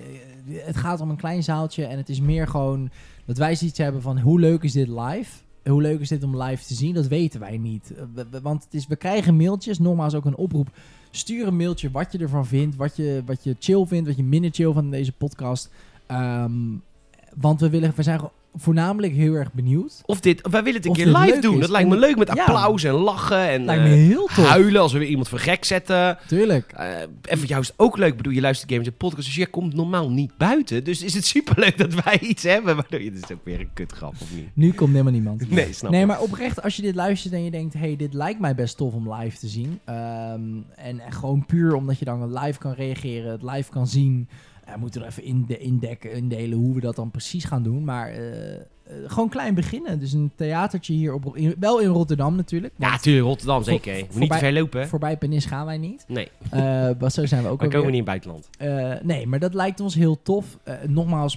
het gaat om een klein zaaltje. En het is meer gewoon dat wij zoiets hebben van hoe leuk is dit live? Hoe leuk is dit om live te zien? Dat weten wij niet. Eh, we- we- Want het is, we krijgen mailtjes, nogmaals ook een oproep. Stuur een mailtje wat je ervan vindt. Wat je, wat je chill vindt, wat je minder chill van deze podcast. Ehm, want we, willen, we zijn voornamelijk heel erg benieuwd. Of dit, wij willen het een Of keer dit live leuk doen. is. Dat lijkt me En- leuk met ja. applaus en lachen. En, Lijkt me eh, heel tof. Huilen als we weer iemand voor gek zetten. Tuurlijk. Eh, en voor jou is het ook leuk. Ik bedoel, je luistert games en podcasts, dus jij komt normaal niet buiten. Dus is het superleuk dat wij iets hebben. Waardoor je, dit is ook weer een kutgrap, of niet? Nu komt helemaal niemand. Nee, snap Nee, ik. maar oprecht, als je dit luistert en je denkt... hey, dit lijkt mij best tof om live te zien. Ehm, en, en gewoon puur omdat je dan live kan reageren, het live kan zien. Eh, we moeten er even in de, indekken, indelen hoe we dat dan precies gaan doen. Maar eh, eh, gewoon klein beginnen. Dus een theatertje hier, op, in- wel in Rotterdam natuurlijk. Ja, want natuurlijk, Rotterdam zeker. Voor- Moet niet te ver lopen, hè? Voorbij Penis gaan wij niet. Nee, Eh, maar zo zijn we ook we alweer. komen niet in het buitenland. Eh, nee, maar dat lijkt ons heel tof. Eh, nogmaals...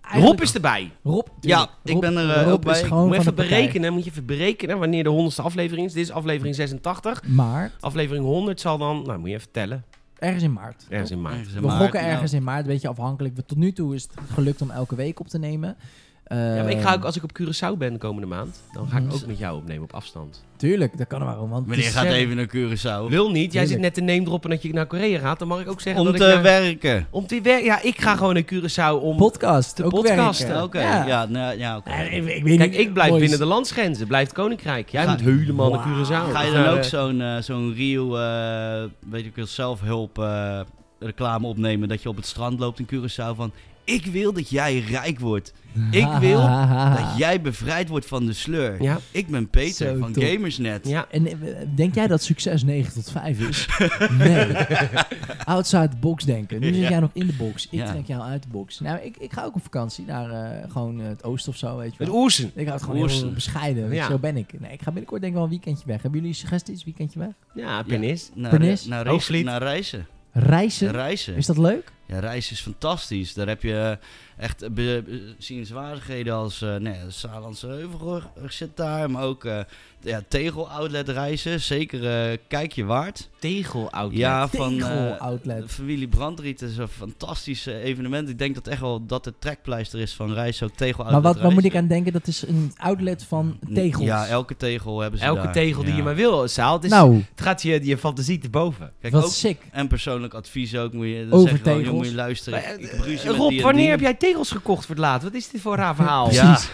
Rob eigenlijk- is erbij. Rob, Ja, tuurlijk. ik Rob- ben er, eh, Rob ook bij. is Ik gewoon Moet je van even de partij. berekenen, moet je even berekenen wanneer de honderdste aflevering is. Dit is aflevering 86. Maar Aflevering 100 zal dan, nou moet je even tellen, ergens in maart. ergens in maart. Ergens We in maart, gokken nou. ergens in maart, een beetje afhankelijk. Tot nu toe is het gelukt om elke week op te nemen. Ja, maar ik Ehm, ga ook, als ik op Curaçao ben de komende maand, dan Mm. ga ik ook met jou opnemen op afstand. Tuurlijk, dat kan er maar om. Want het Meneer is, gaat eh, even naar Curaçao. Wil niet, jij Heerlijk. zit net te name droppen dat je naar Korea gaat, dan mag ik ook zeggen Oh, Om dat te ik eh, naar- werken. Mm. Om te werken? Ja, ik ga gewoon naar Curaçao om... Podcast, te ook podcasten, werken. Ja. Oké, ja. Ja, nou, ja, oké. Eh, Ik, ik weet Kijk, niet, ik blijf boys. binnen de landsgrenzen, blijft Koninkrijk. Jij Ga- moet helemaal naar Wauw. Curaçao. Ga je dan Eh, ook zo'n eh, zo'n Rio, eh, weet ik wel, zelfhulp eh, reclame opnemen dat je op het strand loopt in Curaçao van... Ik wil dat jij rijk wordt. Ik wil dat jij bevrijd wordt van de sleur. Ja, Ik ben Peter Ah. Zo van top. Gamersnet. ja. En eh, denk jij dat succes 9 tot 5 is? Nee. Outside the box denken. Nu zit Ja. jij nog in de box. Ik Ja. trek jou uit de box. Nou, ik, ik ga ook op vakantie naar eh, gewoon eh, het oosten of zo, weet je wel. Met Oersen. Ik hou het gewoon heel Oersen. bescheiden. weet je, Ja. Zo ben ik. Nee, ik ga binnenkort denk ik wel een weekendje weg. Hebben jullie suggesties? Weekendje weg? Ja, Penis. Naar, Pernis? naar, Hoogvliet. reizen, naar reizen. Reizen? Reizen. Is dat leuk? Ja, reizen is fantastisch. Daar heb je eh, echt eh, be- be- zienswaardigheden als eh nee, de Saarlandse Heuvelrug zit daar. Maar ook eh, ja, tegel-outlet reizen. Zeker eh, kijk je waard. Tegel outlet. Ja, van Tegel eh, outlet. familie Brandriet is een fantastisch eh, evenement. Ik denk dat echt wel dat de trekpleister is van reizen. Ook tegel-outlet Maar wat, wat moet ik reizen. aan denken? Dat is een outlet van tegels. Ja, elke tegel hebben ze Elke daar. tegel die Ja. je maar wil, Saal. Het, is, nou, het gaat je, je fantasie te boven. Kijk, wat ook, sick. en persoonlijk advies ook. Moet je, Over dan zeg je gewoon, tegels. jongen, moet je luisteren. Maar, ik eh, heb ruzie met die Rob, en wanneer die. heb jij tegels gekocht voor het laat? Wat is dit voor een raar verhaal? Ja. Ja. Precies.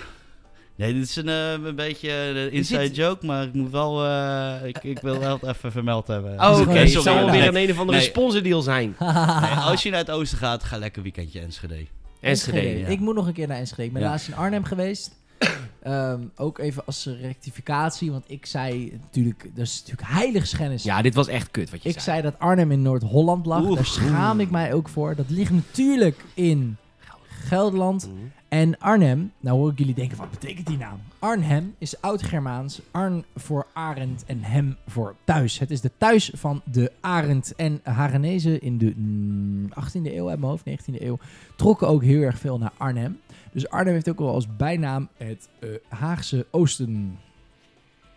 Nee, dit is een, eh, een beetje een inside zit- joke, maar ik moet wel... eh, ik, ik wil wel het even vermeld hebben. Oh, oké. oké. Het Sorry, zou wel nee. weer een een of andere Nee. sponsordeal zijn. Nee, als je naar het oosten gaat, ga lekker weekendje Enschede. Enschede. ja. Ik moet nog een keer naar Enschede. Ik ben Ja. laatst in Arnhem geweest. Ehm, ook even als rectificatie, want ik zei natuurlijk, dat is natuurlijk heiligschennis. Ja, dit was echt kut wat je ik zei dat Arnhem in Noord-Holland lag. Oeh. Daar schaam ik mij ook voor. Dat ligt natuurlijk in Gelderland. Mhm. En Arnhem, nou hoor ik jullie denken, wat betekent die naam? Arnhem is oud-Germaans, Arn voor Arend en hem voor thuis. Het is de thuis van de Arend. En Haranezen in de mm, 18e eeuw, uit mijn hoofd, 19e eeuw, trokken ook heel erg veel naar Arnhem. Dus Arnhem heeft ook wel als bijnaam het eh, Haagse Oosten.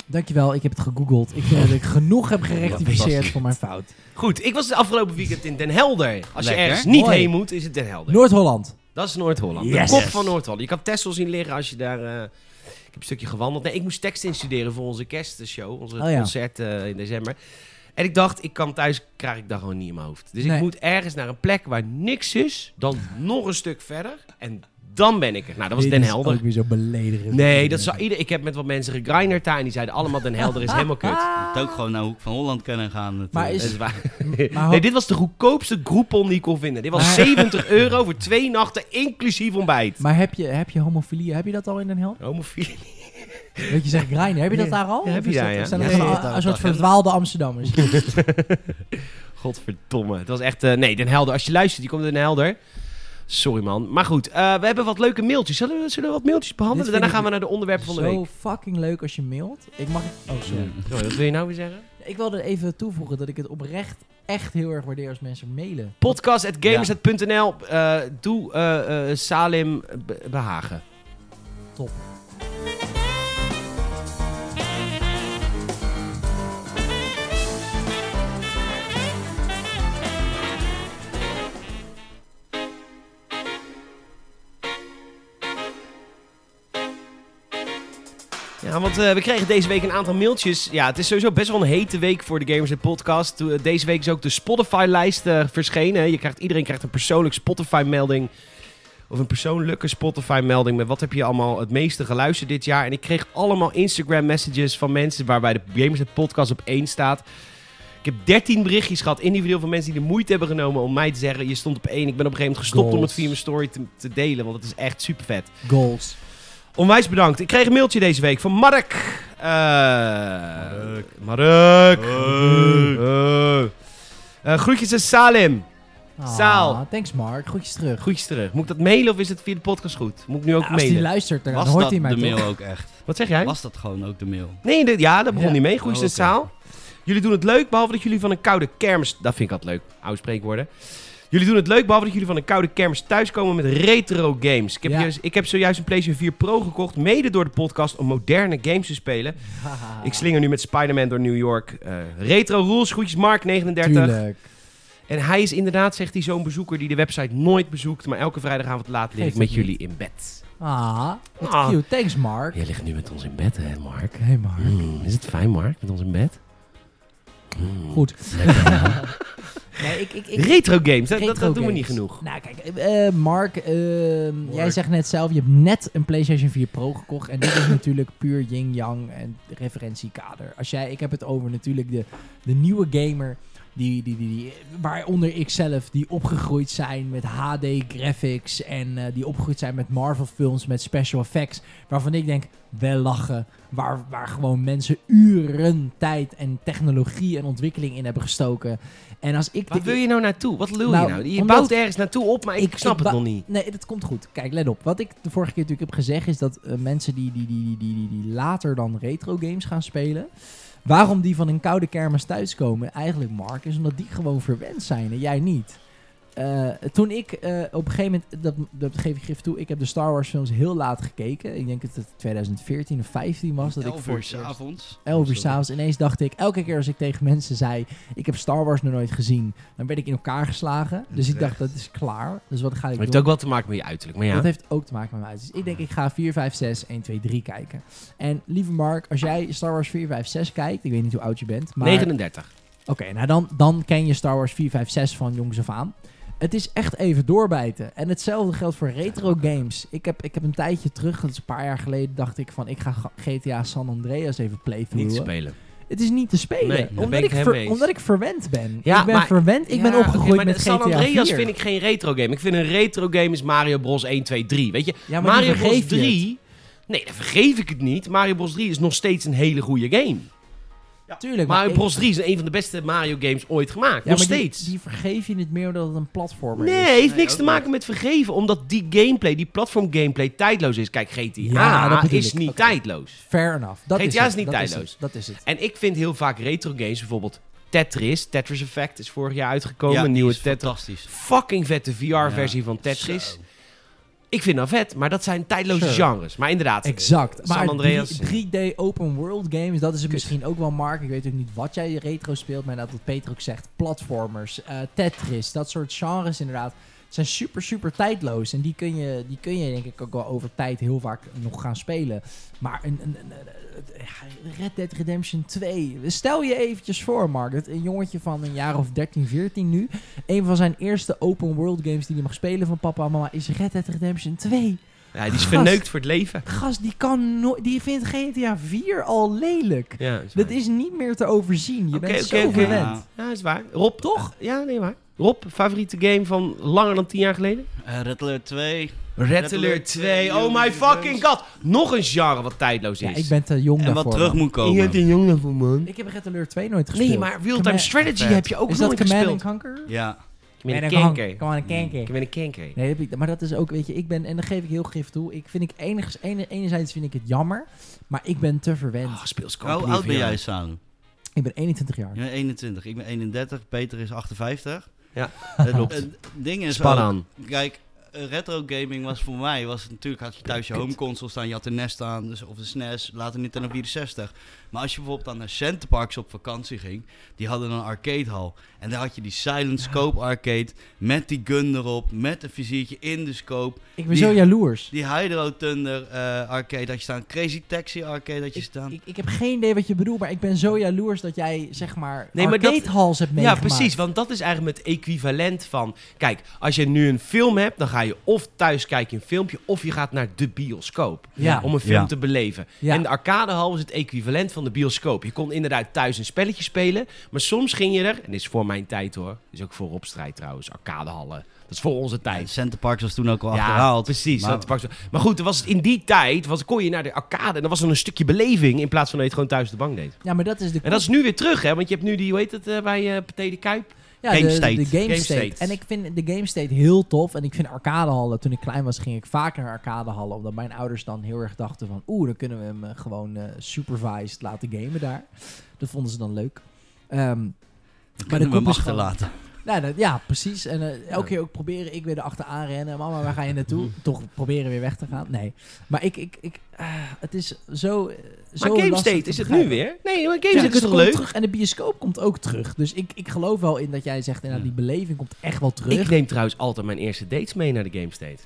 Dankjewel, ik heb het gegoogeld. Ik vind dat ik genoeg heb gerectificeerd voor mijn fout. Goed, ik was het afgelopen weekend in Den Helder. Als je Lekker. ergens niet Mooi. heen moet, is het Den Helder. Noord-Holland. dat is Noord-Holland. Yes. De kop van Noord-Holland. Je kan Texel zien liggen als je daar... eh, ik heb een stukje gewandeld. Nee, ik moest tekst instuderen voor onze kerstshow. Onze Oh ja. concert eh, in december. En ik dacht, ik kan thuis, krijg ik dat gewoon niet in mijn hoofd. Dus ik Nee. moet ergens naar een plek waar niks is. Dan nog een stuk verder. En dan ben ik er. Nou, dat was Dit Den is Helder. ook weer zo beledigend. Nee, dat zou ieder... Ik heb met wat mensen gegrinderd daar. En die zeiden allemaal Den Helder is helemaal kut. Ah, Je moet ook gewoon naar Hoek van Holland kunnen gaan. natuurlijk. Maar is- Dat is waar. Maar Nee, dit was de goedkoopste groepon die ik kon vinden. Dit was Oh. Maar- 70 euro voor twee nachten, inclusief ontbijt. Maar heb je, heb je homofilie, heb je dat al in Den Helder? Homofilie. Weet je, zegt Grijn, heb je dat Ja. daar al? Ja, heb Of je is daar, dat- ja. Zijn Ja, dat ja, een- ja, dat een soort dacht ik. verdwaalde Amsterdammers? Godverdomme. Het was echt... eh, nee, Den Helder. Als je luistert, die komt uit Den Helder. Sorry, man. Maar goed, eh, we hebben wat leuke mailtjes. Zullen we, zullen we wat mailtjes behandelen? Dit Daarna vind gaan ik we naar de onderwerpen van de Zo week. fucking leuk als je mailt. Ik mag... Oh, sorry. Sorry, wat wil je nou weer zeggen? Ik wilde even toevoegen dat ik het oprecht echt heel erg waardeer als mensen mailen. Podcast.gamers.nl. eh doe eh, eh, Salim be- behagen. Top. Ja, want eh, we kregen deze week een aantal mailtjes. Ja, het is sowieso best wel een hete week voor de Gamers en Podcast. Toen- Deze week is ook de Spotify-lijst eh, verschenen. Je krijgt, iedereen krijgt een persoonlijk Spotify-melding. Of een persoonlijke Spotify-melding met wat heb je allemaal het meeste geluisterd dit jaar. En ik kreeg allemaal Instagram-messages van mensen waarbij de Gamers en Podcast op één staat. Ik heb 13 berichtjes gehad, individueel van mensen die de moeite hebben genomen om mij te zeggen: je stond op één. Ik ben op een gegeven moment gestopt om Goals. het via mijn story te, te delen, want het is echt super vet. Goals. Onwijs bedankt. Ik kreeg een mailtje deze week van Mark. Eh Mark. Mark. Eh. Eh, groetjes aan Salim. Ah, Saal. Thanks Mark, groetjes terug. Groetjes terug. Moet ik dat mailen of is het via de podcast goed? Moet ik nu ook Ja, als hij mailen? luistert, dan Eh, Was hoort dat hij de mij toch? mail ook echt? Wat zeg jij? Was dat gewoon ook de mail? Nee, de- ja, dat begon Ja. niet mee. Groetjes aan Oh, oké. Saal. Jullie doen het leuk, behalve dat jullie van een koude kermis... Dat vind ik altijd leuk. Oude spreekwoorden. Jullie doen het leuk, behalve dat jullie van een koude kermis thuiskomen met retro games. Ik heb, Ja. juist- ik heb zojuist een PlayStation 4 Pro gekocht, mede door de podcast, om moderne games te spelen. Haha. Ik slinger nu met Spider-Man door New York. Eh, retro Rules, groetjes Mark39. Tuurlijk. En hij is inderdaad, zegt hij, zo'n bezoeker die de website nooit bezoekt. Maar elke vrijdagavond laat lig ik Geeft met het jullie in bed. Ah, wat Ah. cute. Thanks Mark. Jij ligt nu met ons in bed, hè, Mark? Hey Mark. Mm, is het fijn, Mark, met ons in bed? Mm. Goed. nee, ik, ik, ik, Retro games, dat, dat- dat Retro doen we niet games. genoeg. Nou, kijk, eh, eh, Mark, eh, jij zegt net zelf, je hebt net een PlayStation 4 Pro gekocht. En dit is natuurlijk puur yin-yang en referentiekader. Als jij, ik heb het over natuurlijk de, de nieuwe gamer. Die, die, die, die, waaronder ik zelf, die opgegroeid zijn met HD graphics. En eh, die opgegroeid zijn met Marvel films, met special effects. Waarvan ik denk, wel lachen. Waar, waar gewoon mensen uren tijd en technologie en ontwikkeling in hebben gestoken. En als ik Waar de- wil je nou naartoe? Wat lul Nou, je nou? Je omdat- bouwt ergens naartoe op, maar ik, Ik- snap ik het bou- nog niet. Nee, dat komt goed. Kijk, let op. Wat ik de vorige keer natuurlijk heb gezegd is dat eh, mensen die, die, die, die, die, die later dan retro games gaan spelen. Waarom die van een koude kermis thuiskomen, eigenlijk Mark, is omdat die gewoon verwend zijn en jij niet. Eh, toen ik eh, op een gegeven moment, dat, dat geef ik gif toe, ik heb de Star Wars films heel laat gekeken. Ik denk dat het 2014 of 15 was. Dat ik Elf voor uur het eerst- s'avonds. Oh, 11 uur s'avonds. Ineens dacht ik, elke keer als ik tegen mensen zei... ik heb Star Wars nog nooit gezien, dan werd ik in elkaar geslagen. Dus ik dacht, dat is klaar. Dus wat ga ik Het heeft doen? ook wel te maken met je uiterlijk, maar ja. Dat heeft ook te maken met mijn uit. Dus ik denk, ik ga 4, 5, 6, 1, 2, 3 kijken. En lieve Mark, als jij Star Wars 4, 5, 6 kijkt... ik weet niet hoe oud je bent, maar... 39. Oké, nou dan, dan ken je Star Wars 4, 5, 6 van jongs af aan. Het is echt even doorbijten. En hetzelfde geldt voor retro games. Ik heb, ik heb een tijdje terug, dat is een paar jaar geleden, dacht ik van ik ga ga- GTA San Andreas even Niet te playthroughen. spelen. Het is niet te spelen. Nee, daar ben omdat, ik ik het ver- mee eens. omdat ik verwend ben. Ja, ik ben maar- verwend. Ik Ja, ben opgegroeid oké, maar met de GTA San Andreas 4. vind ik geen retro game. Ik vind een retro game is Mario Bros 1, 2, 3. Weet je, ja, maar die Mario Bros vergeef je 3... Nee, dan vergeef ik het niet. Mario Bros 3 is nog steeds een hele goede game. het. Tuurlijk. maar Mario ik- Bros 3 is een van de beste Mario games ooit gemaakt. Ja, nog maar die- steeds. Die, vergeef je niet meer omdat het een platformer Nee, is. heeft Nee, niks ook te maken met vergeven. Omdat die gameplay, die platform gameplay, tijdloos is. Kijk, GTA Ja, dat bedoel is ik. niet Oké. tijdloos. Fair enough. Dat GTA is, het. is niet dat tijdloos. het. dat is het. En ik vind heel vaak retro games, bijvoorbeeld Tetris. Tetris Effect is vorig jaar uitgekomen. Ja, een die nieuwe is Tetris. fantastisch. Fucking vette VR-versie Ja. van Tetris. Zo. Ik vind dat vet, maar dat zijn tijdloze Sure. genres. Maar inderdaad, Exact. San Maar Andreas. drie- 3D open world games, dat is het Kut. misschien ook wel, Mark. Ik weet ook niet wat jij retro speelt, maar dat wat Peter ook zegt. Platformers, eh, Tetris, dat soort genres inderdaad. Zijn super, super tijdloos. En die kun, je, die kun je denk ik ook wel over tijd heel vaak nog gaan spelen. Maar een, een, een- een- ja, Red Dead Redemption 2. Stel je eventjes voor, Mark. dat Een jongetje van een jaar of 13, 14 nu. Een van zijn eerste open world games die hij mag spelen van papa en mama is Red Dead Redemption 2. ja, die is Gast. verneukt voor het leven. Gast, die kan nooit. Die vindt GTA 4 al lelijk. Ja, is Dat waar. is niet meer te overzien. Je Oké, bent oké, zo oké. verwend. Ja, is waar. Rob, Toch? eh, ja, nee, waar. Rob, favoriete game van langer dan tien jaar geleden? Eh, Red Alert 2. Rattler 2. Oh my fucking god. Nog een genre wat tijdloos is. Ja, ik ben te jong En wat daarvoor. terug man. moet komen. een jongen voor man. Ik heb Red Alert 2 nooit gespeeld. Oh, Nee, maar real-time Command- strategy Vet. heb je ook Is dat nooit Command and gespeeld. Conquer? Ja. Ik ben een Command and kanker. Command and Ik Conquer. ben een kanker. Nee, dat heb ik, maar dat is ook, weet je, ik ben, en dan geef ik heel gif toe, ik vind ik enigszins, ene- enerzijds vind ik het jammer, maar ik ben te verwend. Oh, speels Hoe oud ben jij, Salu? Ik ben 21 jaar. Je bent 21, ik ben 31, Peter is 58. Ja, het, klopt. Het Eh, ding is Span ook, aan. Kijk, eh, retro gaming was voor mij, was het natuurlijk had je thuis je home console staan, je had de NES staan, dus, of de SNES, later Nintendo 64. Maar als je bijvoorbeeld dan naar Centerparks op vakantie ging, die hadden een arcadehal. En daar had je die Silent Scope arcade met die gun erop, met een viziertje in de scope. Ik ben Die- zo jaloers. Die Hydro Thunder eh, arcade had je staan, Crazy Taxi arcade had je staan. Ik, ik heb geen idee wat je bedoelt, maar ik ben zo jaloers dat jij, zeg maar, Nee, nee, maar dat- arcade halls hebt Ja, meegemaakt. precies. Want dat is eigenlijk het equivalent van... Kijk, als je nu een film hebt, dan ga je of thuis kijken in een filmpje... of je gaat naar de bioscoop Ja. om een film Ja. te beleven. Ja. En de arcadehal was het equivalent van de bioscoop. Je kon inderdaad thuis een spelletje spelen... maar soms ging je er... en dit is voor mijn tijd hoor. Dit is ook voor Robstrijd trouwens, arcadehallen. Dat is voor onze tijd. En Centerparks was toen ook al Ja, achterhaald. precies. Maar- Maar, maar goed, er was, in die tijd was, kon je naar de arcade en dan was er een stukje beleving in plaats van dat je het gewoon thuis op de bank deed. Ja, maar dat is de En dat is nu weer terug, hè? Want je hebt nu die, hoe heet het, eh, bij eh Pathé de Kuip? Ja, Game de, state. de game, Game state. state. En ik vind de game state heel tof. En ik vind arcadehallen, toen ik klein was, ging ik vaak naar arcadehallen. Omdat mijn ouders dan heel erg dachten van... Oeh, dan kunnen we hem eh, gewoon eh, supervised laten gamen daar. Dat vonden ze dan leuk. Ehm, Dan maar kunnen we de hem kop is gewoon- achterlaten. nou, dat- ja, precies. En eh, Ja. elke keer ook proberen, ik weer erachteraan rennen. Mama, waar ga je naartoe? Toch proberen weer weg te gaan. Nee. Maar ik, ik, ik, ah, het is zo, eh, zo Maar Game lastig State te is het nu begrijpen. weer? Nee, maar Game Ja, State is het toch komt leuk? terug. En de bioscoop komt ook terug. Dus ik, ik geloof wel in dat jij zegt, inderdaad, die beleving komt echt wel terug. Ik neem trouwens altijd mijn eerste dates mee naar de Game State.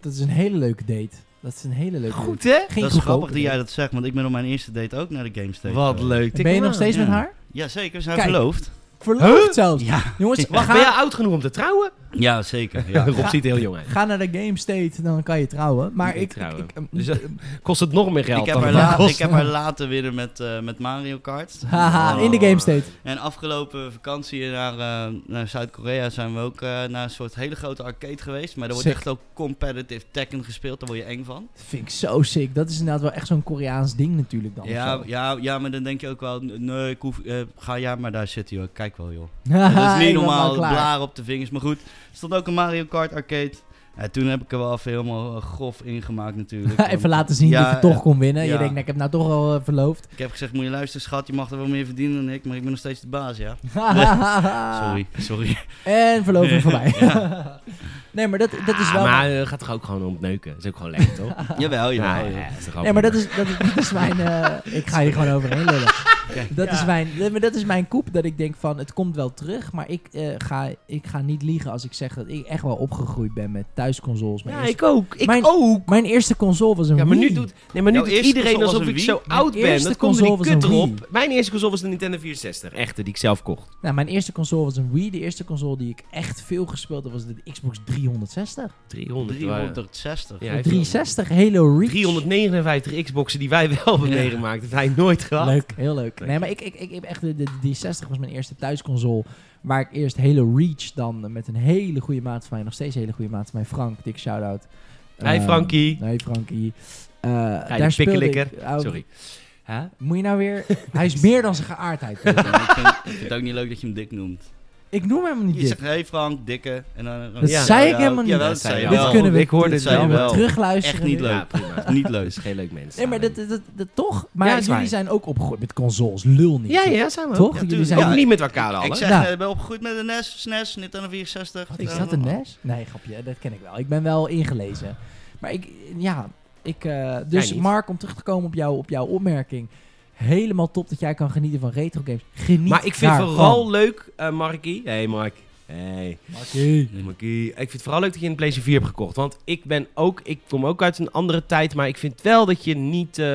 Dat is een hele leuke date. Dat is een hele leuke Goed, date. hè? Geen dat is goedkope grappig dat jij date. dat zegt, want ik ben op mijn eerste date ook naar de GameStation. Wat leuk. Ben je nog steeds Ja. met haar? Jazeker, we zijn Kijk. verloofd. Verloofd zelfs. Ja, Jongens, Wacht, ga, ben jij oud genoeg om te trouwen? ja zeker. Ja. Rob ziet er heel jong uit. ga naar de Game State, dan kan je trouwen. Maar Ik ik... trouwen. ik, ehm, Dus, eh, Kost het nog meer geld ik, heb dan haar het la- kost? ik heb haar later weer met, eh, met Mario Kart. haha, Oh. in de Game State. En afgelopen vakantie naar, eh, naar Zuid-Korea zijn we ook eh, naar een soort hele grote arcade geweest. Maar er wordt Sick. echt ook competitive Tekken gespeeld, daar word je eng van. Vind ik zo sick. Dat is inderdaad wel echt zo'n Koreaans ding natuurlijk dan. Ja, of zo. ja, ja, maar dan denk je ook wel, nee, ik hoef, eh, ga ja, maar daar zit hij ook. Kijk wel joh. Haha, Dat ik is niet ben wel normaal, klaar. blaren op de vingers. Maar goed, er stond ook een Mario Kart arcade. Ja, toen heb ik er wel even helemaal eh, grof ingemaakt natuurlijk. Even Want laten zien Ja, dat je toch eh, kon winnen. Je ja. denkt, nou, ik heb nou toch al eh, verloofd. Ik heb gezegd, moet je luisteren schat, je mag er wel meer verdienen dan ik, maar ik ben nog steeds de baas, ja. Ah. Sorry, sorry. En verloving voorbij. nee, maar dat, dat is Ah, wel... maar het gaat toch ook gewoon om het neuken? Dat is ook gewoon lekker, toch? jawel, Ja, jawel. ja, is toch ook Nee, maar dat leuk. is, dat is, dat is mijn... eh, ik ga hier gewoon overheen lullen. Dat, Ja. is mijn, nee, maar dat is mijn koep, dat ik denk van het komt wel terug, maar ik, eh, ga, ik ga niet liegen als ik zeg dat ik echt wel opgegroeid ben met thuisconsoles. Mijn, Ja, eerste, ik ook. Ik Mijn- ook. mijn eerste console was een Ja, maar Wii. nu doet, nee, maar nu Jouw doet eerste iedereen console was alsof een ik Wii? zo oud Mijn ben. eerste Dat komt er die console was kut een Wii. erop. Mijn eerste console was de Nintendo 64. Echte, die ik zelf kocht. Nou, mijn eerste console was een Wii. De eerste console die ik echt veel gespeeld heb was de Xbox 360. 300. 360. Ja, De hij heeft 360, Halo Reach. 359 Xboxen die wij wel hebben Ja. meegemaakt. Dat hij nooit gehad. Leuk, heel leuk. Leuk. Nee, maar ik, ik, ik heb echt de, de, de 360 was mijn eerste thuisconsole. Waar ik eerst Halo Reach dan eh, met een hele goede maat van mij, nog steeds een hele goede maat van mij, Frank, dik shout-out. Hey, Ehm, Frankie. Hey Frankie. Eh, Hij daar de speelde ik- pikkelikker. oh, Sorry. Huh? Moet je nou weer... Hij is meer dan zijn geaardheid. Peter. Ja, ik, vind, ik vind het ook niet leuk dat je hem dik noemt. ik noem hem niet Je dit. zegt, hey Frank, dikke. En dan, Dat Ja. zei ik Ja, helemaal niet. jawel, dat Dat zei zei je je dit wel. wel. kunnen we, Ik hoorde dit het kunnen wel. we Wel. terugluisteren. Echt niet nu. leuk. Ja, prima. Niet leuk. Dat is geen leuk mens. Nee, maar dat, dat, dat- toch? Maar Ja, is jullie waar. zijn ook opgegroeid met consoles. Lul niet. Ja, ja, zijn we ook. Toch? Ja, jullie tuurlijk. zijn... Ook niet met elkaar Ik allen. zeg, Nou. eh, ben opgegroeid met een NES, SNES, E Nintendo Eh, 64. Wat is dat, een E NES? Nee, grapje. Dat ken ik wel. Ik ben wel ingelezen. Maar ik... Ja, ik... eh, dus Jij niet. Mark, om terug te komen op, jou, op jouw opmerking. Helemaal top dat jij kan genieten van retro games. Geniet maar ik vind daarvan. vooral leuk, eh Markie. Hey Mark. Hey. Markie. Hey, Markie. Ik vind het vooral leuk dat je een PlayStation 4 hebt gekocht. Want ik ben ook, ik kom ook uit een andere tijd. Maar ik vind wel dat je niet eh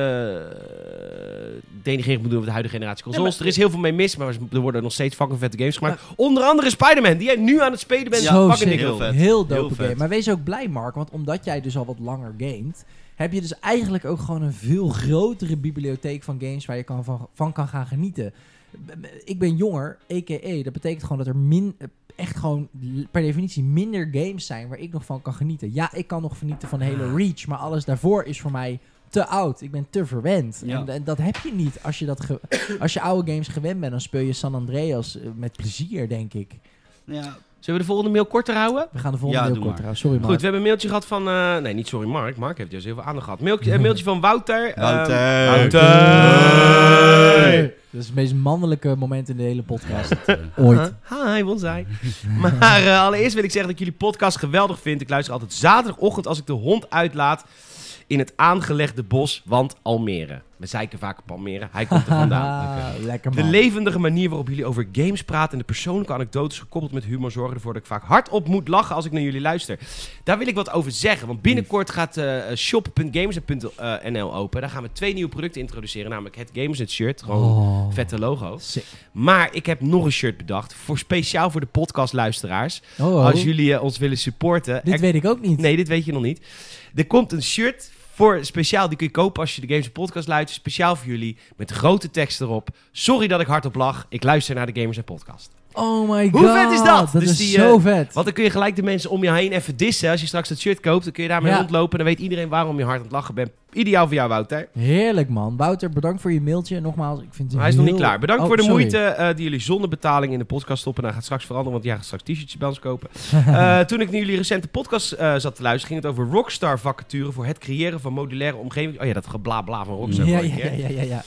denigrerend moet doen over de huidige generatie consoles. maar- er is heel veel mee mis, maar er worden nog steeds fucking vette games gemaakt. Onder andere Spider-Man, die jij nu aan het spelen bent. Ja, zo fucking sick. dik. Heel vet. Heel dope Heel vet. game. Maar wees ook blij, Mark. Want omdat jij dus al wat langer gamet... heb je dus eigenlijk ook gewoon een veel grotere bibliotheek van games... waar je kan van, van kan gaan genieten. B- b- Ik ben jonger, a.k.a. Dat betekent gewoon dat er min, eh, echt gewoon l- per definitie minder games zijn... waar ik nog van kan genieten. Ja, ik kan nog genieten van Halo Reach... maar alles daarvoor is voor mij te oud. Ik ben te verwend. Ja. En, en dat heb je niet. Als je, dat ge- als je oude games gewend bent... dan speel je San Andreas eh, met plezier, denk ik. Ja, Zullen we de volgende mail korter houden? We gaan de volgende Ja, heel doe kort maar. trouwens. Sorry, Mark. Goed, we hebben een mailtje gehad van... eh, nee, niet sorry Mark. Mark heeft juist heel veel aandacht gehad. Mailtje, eh, mailtje van Wouter. ehm, Wouter. Wouter. Dat is het meest mannelijke moment in de hele podcast ooit. Huh? Hi, bonsai. Maar eh, allereerst wil ik zeggen dat ik jullie podcast geweldig vind. Ik luister altijd zaterdagochtend als ik de hond uitlaat in het aangelegde bos, want Almere. We zeiken vaak op Almere. Hij komt er vandaan. Lekker De man. levendige manier waarop jullie over games praten en de persoonlijke anekdotes gekoppeld met humor zorgen ervoor dat ik vaak hardop moet lachen als ik naar jullie luister. Daar wil ik wat over zeggen, want binnenkort gaat eh shop.gamers.nl eh, open. Daar gaan we twee nieuwe producten introduceren, namelijk het Gamers Net shirt, gewoon Oh. vette logo. Sick. Maar ik heb nog een shirt bedacht, voor speciaal voor de podcastluisteraars. Oh, oh. Als jullie eh, ons willen supporten. Dit Er- weet ik ook niet. Nee, dit weet je nog niet. Er komt een shirt voor speciaal, die kun je kopen als je de Gamers Podcast luistert. Speciaal voor jullie, met grote tekst erop. Sorry dat ik hardop lach, ik luister naar de Gamers en Podcast. Oh my god. Hoe vet is dat? Dus is die, zo eh, vet. Want dan kun je gelijk de mensen om je heen even dissen. Als je straks dat shirt koopt, dan kun je daarmee Ja. rondlopen. Dan weet iedereen waarom je hard aan het lachen bent. Ideaal voor jou, Wouter. Heerlijk man. Wouter, bedankt voor je mailtje. Nogmaals, ik vind het Maar hij is nog niet heel- klaar. Bedankt Oh, voor de sorry. moeite eh, die jullie zonder betaling in de podcast stoppen. Nou, Hij gaat straks veranderen, want jij gaat straks t-shirtjes bij ons kopen. Eh, toen ik naar jullie recente podcast eh, zat te luisteren, ging het over rockstar vacature voor het creëren van modulaire omgeving. Oh ja, dat geblabla van rockstar. Ja, vorige ja, keer. ja, ja, ja, ja.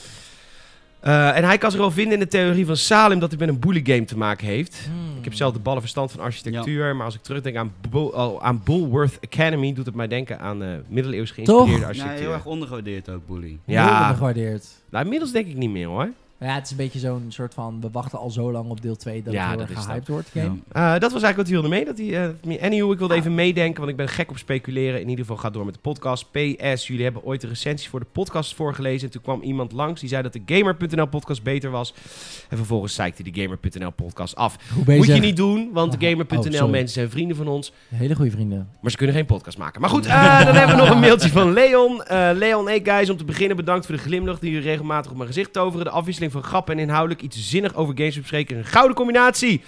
Eh, en hij kan zich wel vinden in de theorie van Salem dat het met een bully game te maken heeft. Hmm. Ik heb zelf de ballen verstand van architectuur, maar als ik terugdenk aan, Bo- oh, aan Bulworth Academy, doet het mij denken aan eh middeleeuws geïnspireerde Toch? ja, architectuur. heel erg ondergewaardeerd ook, Bully. Heel ja. gewaardeerd. nou inmiddels denk ik niet meer hoor. Ja, het is een beetje zo'n soort van... We wachten al zo lang op deel 2 dat Ja, het heel dat erg is gehyped wordt. Game. Eh, dat was eigenlijk wat hij wilde mee. Dat hij, eh, anywho, ik wilde even meedenken, want ik ben gek op speculeren. In ieder geval, ga door met de podcast. PS, jullie hebben ooit de recensies voor de podcast voorgelezen. En toen kwam iemand langs die zei dat de Gamer.nl podcast beter was. En vervolgens zeikte die Gamer.nl podcast af. Hoe bezig? Moet je niet doen, want de Oh, oh, Gamer.nl sorry. mensen zijn vrienden van ons. Hele goede vrienden. Maar ze kunnen geen podcast maken. Maar goed, eh, dan hebben we nog een mailtje van Leon. Eh, Leon, hey guys, om te beginnen bedankt voor de glimlach die jullie regelmatig op mijn gezicht toveren. De afwisseling van grappen en inhoudelijk iets zinnig over games bespreken. is Een gouden combinatie.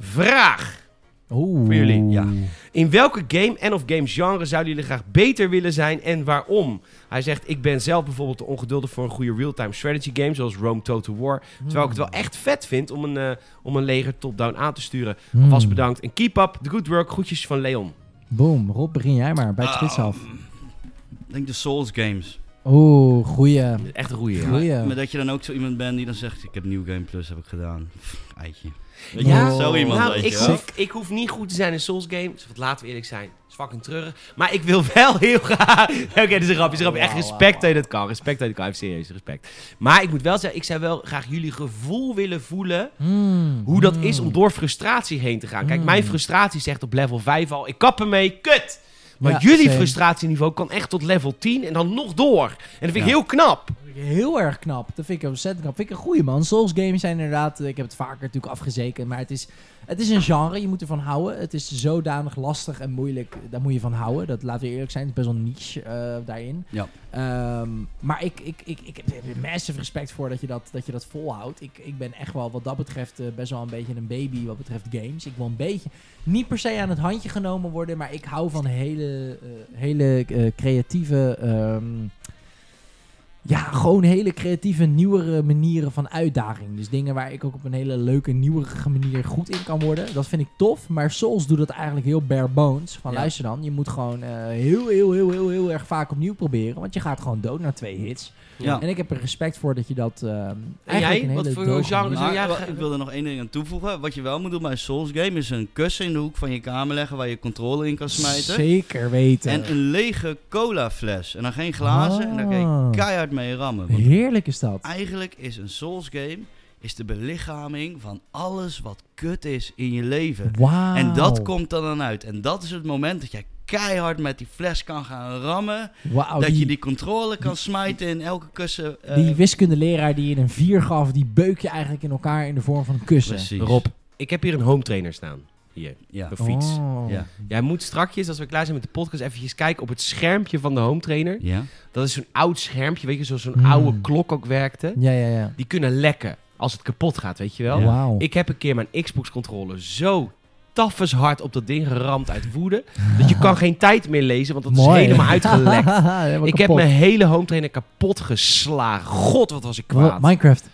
Vraag. Oeh. Voor jullie, ja. Oké. In welke game en of game genre zouden jullie graag beter willen zijn en waarom? Hij zegt, ik ben zelf bijvoorbeeld te ongeduldig voor een goede real-time strategy game zoals Rome Total War. Terwijl ik het wel echt vet vind om een, eh, om een leger top-down aan te sturen. Hmm. Vast bedankt en keep up the good work. Groetjes van Leon. Ah. Boom. Rob, begin jij maar. Bij het spits af. Ik Ah, denk de Souls games. Oh, Oeh, goeie. Echt een goeie. Ja. Goeie. Maar dat je dan ook zo iemand bent die dan zegt, ik heb New Game Plus heb ik gedaan. Pff, eitje. Weet je, Ja. zo iemand Nou, weet ik je wel. hoef, ik hoef niet goed te zijn in Souls games. Want laten we eerlijk zijn, is fucking treurig. Maar ik wil wel heel graag... Oké, dit is een grapje, dit is een grapje. Echt Wauw, respect wauw, dat je dat kan. Respect dat je dat kan. Even serieus, respect. Maar ik moet wel zeggen, ik zou wel graag jullie gevoel willen voelen... Mm, hoe dat mm. is om door frustratie heen te gaan. Kijk, Mm. mijn frustratie is echt op level 5 al. Ik kap ermee, kut! Maar Ja, jullie same. frustratieniveau kan echt tot level 10 en dan nog door. En dat vind ik Ja. heel knap. Heel erg knap. Dat vind ik ontzettend knap. Vind ik een goeie man. Souls games zijn inderdaad, ik heb het vaker natuurlijk afgezeken, maar het is, het is een genre, je moet ervan houden. Het is zodanig lastig en moeilijk, daar moet je van houden. Dat laten we eerlijk zijn, het is best wel niche eh, daarin. Ja. Ehm, maar ik, ik, ik, ik heb er massive respect voor dat je dat, dat, je dat volhoudt. Ik, ik ben echt wel wat dat betreft eh, best wel een beetje een baby wat betreft games. Ik wil een beetje, niet per se aan het handje genomen worden, maar ik hou van hele, eh, hele eh, creatieve... ehm, ja, gewoon hele creatieve, nieuwere manieren van uitdaging. Dus dingen waar ik ook op een hele leuke, nieuwerige manier goed in kan worden. Dat vind ik tof. Maar Souls doet dat eigenlijk heel bare bones. Van Ja. luister dan, je moet gewoon eh, heel, heel, heel, heel, heel erg vaak opnieuw proberen. Want je gaat gewoon dood na twee hits. Ja. En ik heb er respect voor dat je dat... ehm, eigenlijk jij? een Wat hele voor doge genre manier- zou jij Maar, wa- graag- ik wil er nog één ding aan toevoegen. Wat je wel moet doen bij een Souls game is een kussen in de hoek van je kamer leggen waar je controle in kan smijten. Zeker weten. En een lege cola fles. En dan geen glazen. En dan kan Ah. je keihard mee rammen. Want Heerlijk is dat. eigenlijk is een Souls game is de belichaming van alles wat kut is in je leven. Wauw. En dat komt er dan uit. En dat is het moment dat jij keihard met die fles kan gaan rammen. Wauw, dat Oh, die- je die controle kan smijten in elke kussen. eh, Die wiskundeleraar die je een 4 gaf, die beuk je eigenlijk in elkaar in de vorm van een kussen. Precies. Rob, ik heb hier een home trainer staan. Hier, Ja. op een fiets. Oh. Ja. Jij moet strakjes, als we klaar zijn met de podcast, eventjes kijken op het schermpje van de home trainer. Ja. Dat is zo'n oud schermpje, weet je, zoals zo'n Mm. oude klok ook werkte. Ja, ja, ja. Die kunnen lekken als het kapot gaat, weet je wel. Ja. Wauw. Ik heb een keer mijn Xbox-controller zo taffes hard op dat ding geramd uit woede. Dat je kan geen tijd meer lezen, want dat Mooi. is helemaal uitgelekt. Helemaal Ik heb kapot. mijn hele home trainer kapot geslagen. God, wat was ik Wa- kwaad. Minecraft.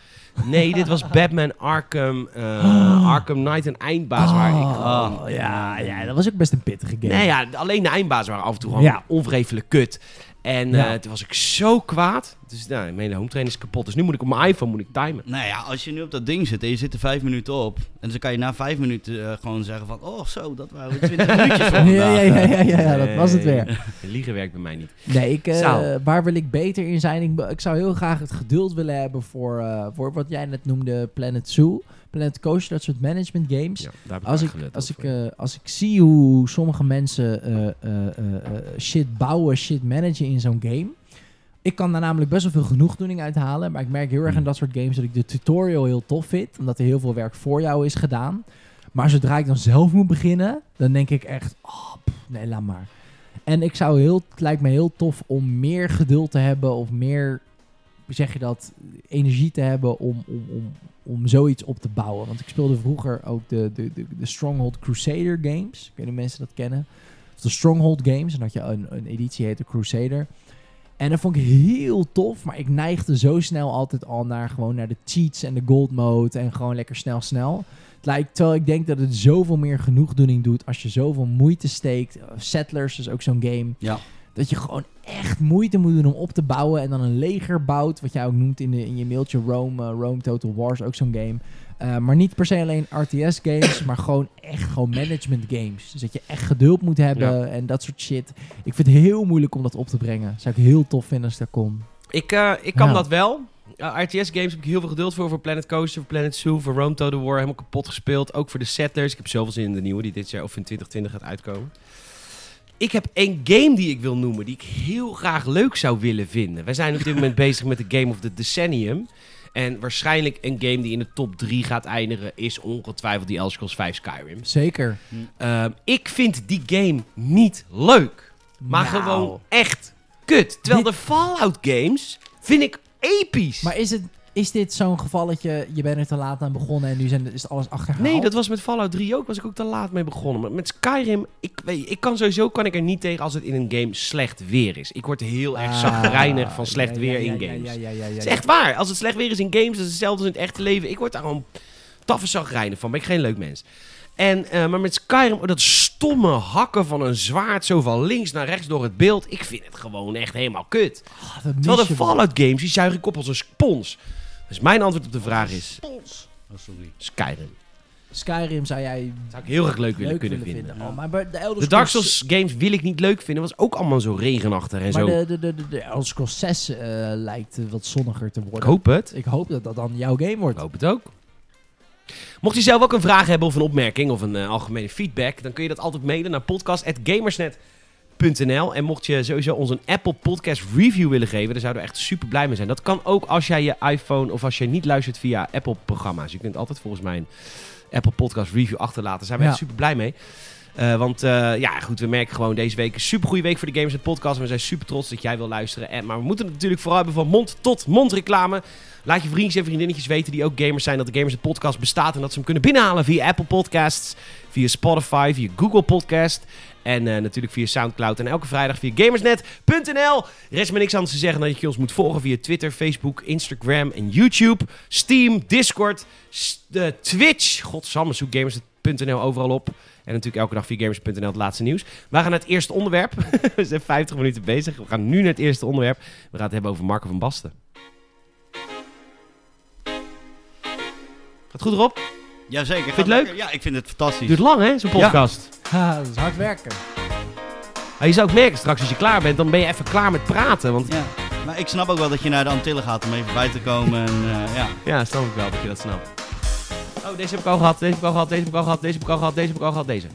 Nee, dit was Batman Arkham, eh, Ah. Arkham Knight en eindbaas. waar ik ah, Oh, ja, ja, dat was ook best een pittige game. Nee, ja, alleen de eindbaas waren af en toe gewoon Ja. onvreefelijk kut. En eh, Ja. toen was ik zo kwaad. Dus nou, mijn hele home trainer is kapot. Dus nu moet ik op mijn iPhone moet ik timen. Nou ja, als je nu op dat ding zit en je zit er vijf minuten op. En dan kan je na vijf minuten eh, gewoon zeggen van... Oh zo, dat waren twintig minuutjes voor ja, ja, vandaag. ja, ja, ja, ja, dat was het weer. Liegen werkt bij mij niet. Nee, ik, eh, Zou. waar wil ik beter in zijn? Ik, be- ik zou heel graag het geduld willen hebben voor, eh, voor wat jij net noemde Planet Zoo, Planet Coaster, dat soort management games. Ja, daar heb ik Als aan ik, gelet, als, dat ik, voor je. eh, als ik zie hoe sommige mensen eh, eh, eh, eh, shit bouwen, shit managen in zo'n game. Ik kan daar namelijk best wel veel genoegdoening uit halen. Maar ik merk heel Hmm. erg in dat soort games dat ik de tutorial heel tof vind. Omdat er heel veel werk voor jou is gedaan. Maar zodra ik dan zelf moet beginnen, dan denk ik echt... Oh, pff, nee, laat maar. En ik zou heel, het lijkt me heel tof om meer geduld te hebben of meer, hoe zeg je dat, energie te hebben om, om, om, om zoiets op te bouwen. Want ik speelde vroeger ook de, de, de, de Stronghold Crusader games. Ik weet niet of mensen dat kennen. Of de Stronghold games. En dat je een, een editie heette Crusader. En dat vond ik heel tof, maar ik neigde zo snel altijd al naar gewoon naar de cheats en de gold mode en gewoon lekker snel snel. Het lijkt, terwijl ik denk dat het zoveel meer genoegdoening doet als je zoveel moeite steekt. Uh, Settlers is ook zo'n game. Ja. Dat je gewoon echt moeite moet doen om op te bouwen en dan een leger bouwt. Wat jij ook noemt in, de, in je mailtje Rome, eh, Rome Total War is ook zo'n game. Eh, maar niet per se alleen RTS games, maar gewoon echt gewoon management games. Dus dat je echt geduld moet hebben en dat soort shit. Ik vind het heel moeilijk om dat op te brengen. Zou ik heel tof vinden als ik daar kon. Ik, eh, ik kan Ja. dat wel. Eh, RTS-games heb ik heel veel geduld voor. Voor Planet Coaster, voor Planet Zoo, voor Rome to the War. Helemaal kapot gespeeld. Ook voor de Settlers. Ik heb zoveel zin in de nieuwe die dit jaar of in 2020 gaat uitkomen. Ik heb één game die ik wil noemen, die ik heel graag leuk zou willen vinden. Wij zijn op dit moment bezig met de Game of the Decennium. En waarschijnlijk een game die in de top 3 gaat eindigen, is ongetwijfeld die Elder Scrolls 5 Skyrim. Zeker. Ehm, ik vind die game niet leuk. Maar Nou. gewoon echt kut. Terwijl Dit- de Fallout games vind ik episch. Maar is, het, is dit zo'n gevalletje, je bent er te laat aan begonnen en nu zijn, is alles achterhaald? Nee, dat was met Fallout 3 ook. Was ik ook te laat mee begonnen. Maar met Skyrim, ik, weet, ik kan sowieso kan ik er niet tegen als het in een game slecht weer is. Ik word heel erg zagrijnig van slecht Ah. ja, ja, weer ja, in ja, games. Ja, ja, ja, ja, Het ja. is echt waar. Als het slecht weer is in games, dat is hetzelfde als in het echte leven. Ik word daar gewoon taffe zagrijnig van. Ben ik geen leuk mens. En, eh, maar met Skyrim, dat stomme hakken van een zwaard zo van links naar rechts door het beeld. Ik vind het gewoon echt helemaal kut. Ah, dat mis Terwijl je de wel. Fallout games, die zuig ik op als een spons. Dus mijn antwoord op de vraag is Oh, sorry. Skyrim. Skyrim zou jij Dat zou ik heel erg leuk willen leuk kunnen willen vinden. vinden. Oh, maar bij de Elder De Dark Scrolls- Souls games wil ik niet leuk vinden, was ook allemaal zo regenachtig en Maar zo. de, de, de, de, de Elder Scrolls 6 eh, lijkt eh, wat zonniger te worden. Ik hoop het. Ik hoop dat dat dan jouw game wordt. Ik hoop het ook. Mocht je zelf ook een vraag hebben of een opmerking of een eh, algemene feedback, dan kun je dat altijd mailen naar podcast.gamersnet.nl. En mocht je sowieso ons een Apple Podcast Review willen geven, daar zouden we echt super blij mee zijn. Dat kan ook als jij je iPhone of als je niet luistert via Apple-programma's. Je kunt altijd volgens mij een Apple Podcast Review achterlaten. Daar zijn we Ja. echt super blij mee. Eh, want eh, ja, goed, we merken gewoon deze week een super goede week voor de Gamers en Podcast. En we zijn super trots dat jij wil luisteren. En, maar we moeten het natuurlijk vooral hebben van mond tot mond reclame. Laat je vriendjes en vriendinnetjes weten die ook gamers zijn dat de Gamers en Podcast bestaat. En dat ze hem kunnen binnenhalen via Apple Podcasts, via Spotify, via Google Podcast. En eh, natuurlijk via Soundcloud. En elke vrijdag via gamersnet.nl. Rest me niks anders te zeggen dan dat je ons moet volgen via Twitter, Facebook, Instagram en YouTube. Steam, Discord, s- eh, Twitch. Godsamme, zoek gamers.nl overal op. En natuurlijk elke dag via gamers.nl het laatste nieuws. We gaan naar het eerste onderwerp. We zijn 50 minuten bezig. We gaan nu naar het eerste onderwerp. We gaan het hebben over Marco van Basten. Gaat goed erop? Jazeker. je gaat het leuk? lekker. Ja, ik vind het fantastisch. Duurt lang hè, zo'n podcast. Ha, dat is hard werken. Maar je zou ook merken straks als je klaar bent, dan ben je even klaar met praten. Want Ja. Maar ik snap ook wel dat je naar de Antillen gaat om even bij te komen. En, eh, ja. Ja, snap ik wel dat je dat snapt. Oh, deze heb ik al gehad, deze heb ik al gehad, deze heb ik al gehad, deze heb ik al gehad, deze heb ik al gehad, deze.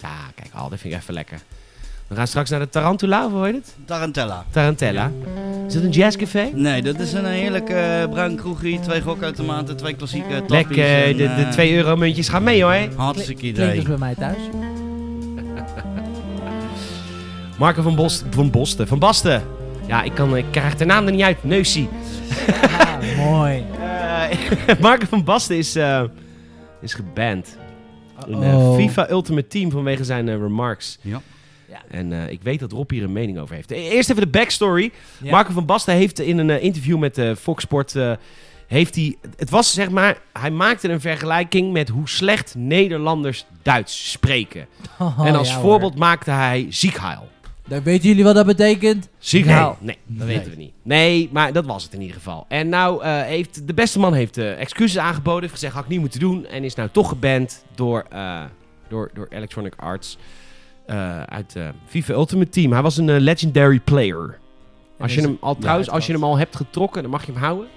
Ja, kijk, al, dit vind ik even lekker. We gaan straks naar de Tarantula, of hoe heet het? Tarantella. Tarantella. Is dat een jazzcafé? Nee, dat is een heerlijke eh, bruin kroegie. Twee gokautomaten, twee klassieke tappies. Lekker, en, de, de eh, 2 euro muntjes gaan mee hoor. Hartstikke Klinkt idee. dus bij mij thuis. Marco van, Bos, van Bosten, van Basten. Ja, ik, kan, ik krijg de naam er niet uit, neusie. Ah, mooi. Eh, Marco van Basten is, eh, is geband. In eh, Oh. Uh-oh. FIFA Ultimate Team vanwege zijn eh, remarks. Ja. Ja. En eh, ik weet dat Rob hier een mening over heeft. E- Eerst even de backstory. Ja. Marco van Basten heeft in een eh, interview met eh, Fox Sport... eh, heeft hij, het was zeg maar, hij maakte een vergelijking met hoe slecht Nederlanders Duits spreken. Oh, en als ja hoor. voorbeeld maakte hij ziekheil. Dan weten jullie wat dat betekent? Ziekheil? Nou. Nee, dat weten we niet. Nee, maar dat was het in ieder geval. En nou eh, heeft de beste man heeft eh, excuses aangeboden. Heeft gezegd, had ik niet moeten doen. En is nou toch geband door, eh, door, door Electronic Arts. eh, uit eh FIFA Ultimate Team. Hij was een eh, legendary player. Als je is- hem al, trouwens, het als je was. hem al hebt getrokken, dan mag je hem houden.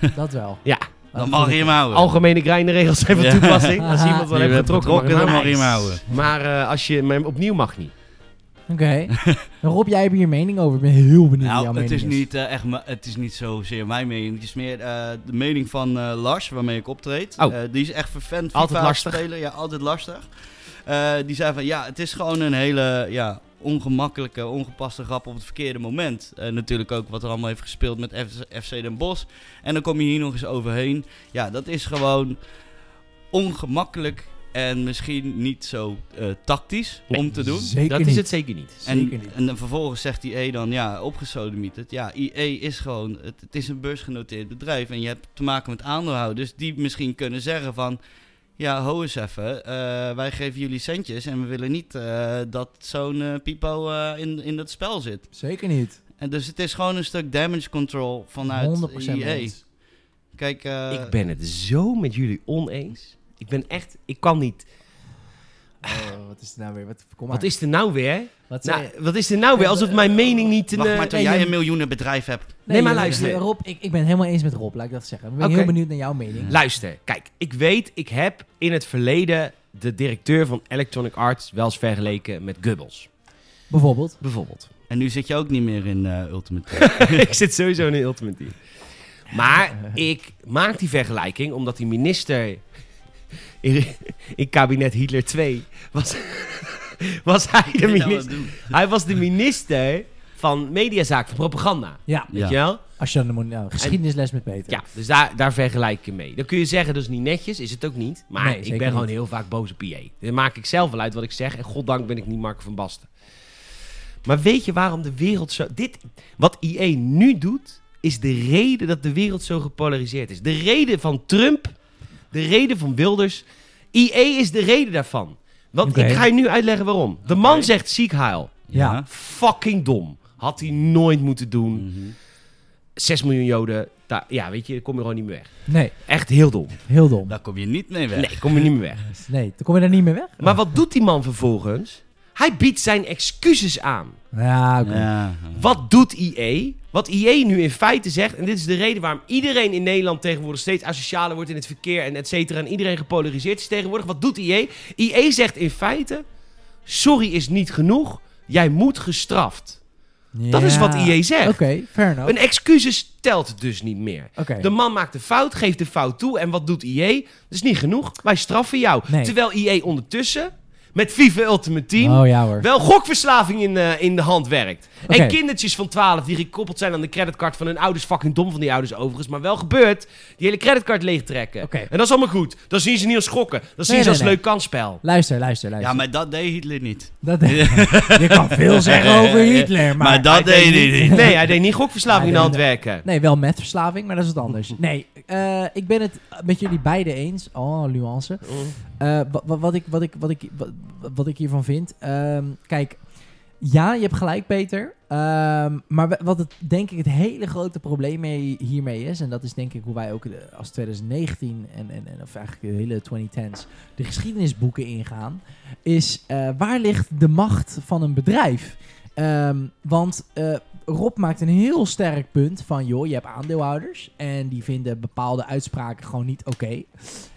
dus, Dat wel. Ja. Dan mag je hem houden. Algemene grijnregels zijn van Ja. toepassing. Als Haha. iemand al Je heeft bent getrokken, mag je hem houden. betrokken, dan mag je hem Maar eh, als je maar opnieuw mag niet. Oké. Dan Rob, jij hebt hier mening over. Ik ben heel benieuwd naar jouw Nou, het mening is, niet, eh, echt, me- het is niet zozeer mijn mening. Het is meer eh, de mening van eh, Lars, waarmee ik optreed. Oh. Eh, die is echt vervent Altijd FIFA lastig. speler. Ja, altijd lastig. Eh, die zei van, ja, het is gewoon een hele ja, ongemakkelijke, ongepaste grap op het verkeerde moment. Eh, natuurlijk ook wat er allemaal heeft gespeeld met F- FC Den Bosch. En dan kom je hier nog eens overheen. Ja, dat is gewoon ongemakkelijk en misschien niet zo eh, tactisch Nee. om te doen. Zeker dat is niet. het zeker niet. Zeker En, niet. en dan vervolgens zegt IE dan, ja, opgesodemieterd. Ja, IE is gewoon, het, het is een beursgenoteerd bedrijf en je hebt te maken met aandeelhouders die misschien kunnen zeggen van, ja, ho eens even, eh, wij geven jullie centjes en we willen niet eh, dat zo'n eh, pipo eh, in, in dat spel zit. Zeker niet. En dus het is gewoon een stuk damage control vanuit 100% IE. eens. Kijk, eh, Ik ben het zo met jullie oneens. Ik ben echt, ik kan niet. Oh, wat is het nou weer? Wat, kom maar. Wat is er nou weer? Wat zei Nou, wat is er nou weer? Alsof mijn mening niet. Een, wacht eh, maar tot nee, jij je- een miljoenenbedrijf hebt. Nee, maar luister. Rob, ik, ik ben helemaal eens met Rob, laat ik dat zeggen. Ik ben Oké. heel benieuwd naar jouw mening. Luister, kijk, ik weet, ik heb in het verleden de directeur van Electronic Arts wel eens vergeleken met Gubbels. Bijvoorbeeld. Bijvoorbeeld. En nu zit je ook niet meer in eh, Ultimate Team. ik zit sowieso in de Ultimate Team. Maar ik maak die vergelijking omdat die minister in, in kabinet Hitler 2 was. Was hij de minister? Hij was de minister van mediazaak, van propaganda. Ja, Weet Ja. je wel? als je dan moet... Nou, geschiedenisles met Peter. Ja, dus daar, daar vergelijk ik je mee. Dan kun je zeggen, dat is niet netjes, is het ook niet. Maar Nee, ik zeker ben gewoon niet. heel vaak boze PA. Dan maak ik zelf wel uit wat ik zeg. En goddank ben ik niet Marco van Basten. Maar weet je waarom de wereld zo... Dit, wat IE nu doet, is de reden dat de wereld zo gepolariseerd is. De reden van Trump, de reden van Wilders... EA is de reden daarvan. Want Oké. ik ga je nu uitleggen waarom. De Oké. man zegt ziek heil. Ja. Fucking dom. Had hij nooit moeten doen. Mhm. 6 miljoen joden. daar- ja, weet je, daar kom je gewoon niet meer weg. Nee, Echt heel dom. heel dom. Daar kom je niet mee weg. Nee, kom je niet meer weg. Nee, dan kom je daar niet meer weg. Maar wat doet die man vervolgens? Hij biedt zijn excuses aan. Ja, oké. Ja. Wat doet IE? Wat IE nu in feite zegt, en dit is de reden waarom iedereen in Nederland tegenwoordig steeds asocialer wordt in het verkeer en et cetera, en iedereen gepolariseerd is tegenwoordig, wat doet IE? IE zegt in feite: sorry is niet genoeg, jij moet gestraft. Dat is wat IE zegt. Oké, fair enough. Een excuses telt dus niet meer. Oké. De man maakt de fout, geeft de fout toe. En wat doet IE? Dat is niet genoeg. Wij straffen jou. Nee. Terwijl IE ondertussen met FIFA Ultimate Team Oh ja hoor. wel gokverslaving in, eh, in de hand werkt. Oké. En kindertjes van 12 die gekoppeld zijn aan de creditcard van hun ouders. Fucking dom van die ouders overigens. Maar wel gebeurt. Die hele creditcard leegtrekken. Oké. En dat is allemaal goed. Dan zien ze niet als schokken. Dan zien Nee, ze nee, als nee. leuk kansspel. Luister, luister, luister. ja, maar dat deed Hitler niet. dat, je kan veel zeggen over Hitler, maar... Maar, dat Hij deed hij niet. Nee, hij deed niet gokverslaving Hij in de hand deed- werken. Nee, wel met verslaving, maar dat is wat anders. Nee, eh, ik ben het met jullie beiden eens. Oh, nuance. Eh, wa- wa- wat, ik, wat, ik, wat, ik, wa- wat ik hiervan vind. ehm, kijk, ja, je hebt gelijk, Peter. Ehm, maar wa- wat het, denk ik het hele grote probleem mee- hiermee is. En dat is denk ik hoe wij ook de- als 2019 en, en, en of eigenlijk de hele 2010s de geschiedenisboeken ingaan. Is eh, waar ligt de macht van een bedrijf? Ehm, want eh, Rob maakt een heel sterk punt van, joh, je hebt aandeelhouders en die vinden bepaalde uitspraken gewoon niet oké.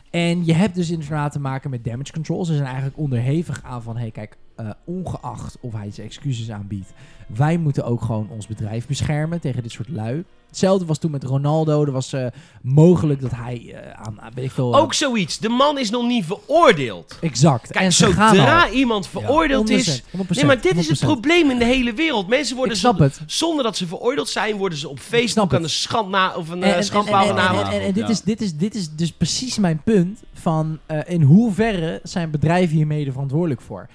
En je hebt dus inderdaad te maken met damage control. Ze zijn eigenlijk onderhevig aan van, hé hey, kijk, eh, ongeacht of hij zijn excuses aanbiedt, wij moeten ook gewoon ons bedrijf beschermen tegen dit soort lui. Hetzelfde was toen met Ronaldo. Er was eh, mogelijk dat hij eh, aan, aan- weet ik veel, eh, Ook zoiets. De man is nog niet veroordeeld. exact. Kijk, en ze gaan zodra al. iemand veroordeeld is... 100%, 100%, Nee, maar dit is het 100%. probleem in de hele wereld. Mensen worden Ik snap zon- het. zonder dat ze veroordeeld zijn, worden ze op snap Facebook het. aan de schand na of een En- eh, en- en- schandpaal en- en- gehouden. en- en- en dit Ja. is- dit is- Dit is dus precies mijn punt van eh, in hoeverre zijn bedrijven hiermede verantwoordelijk voor.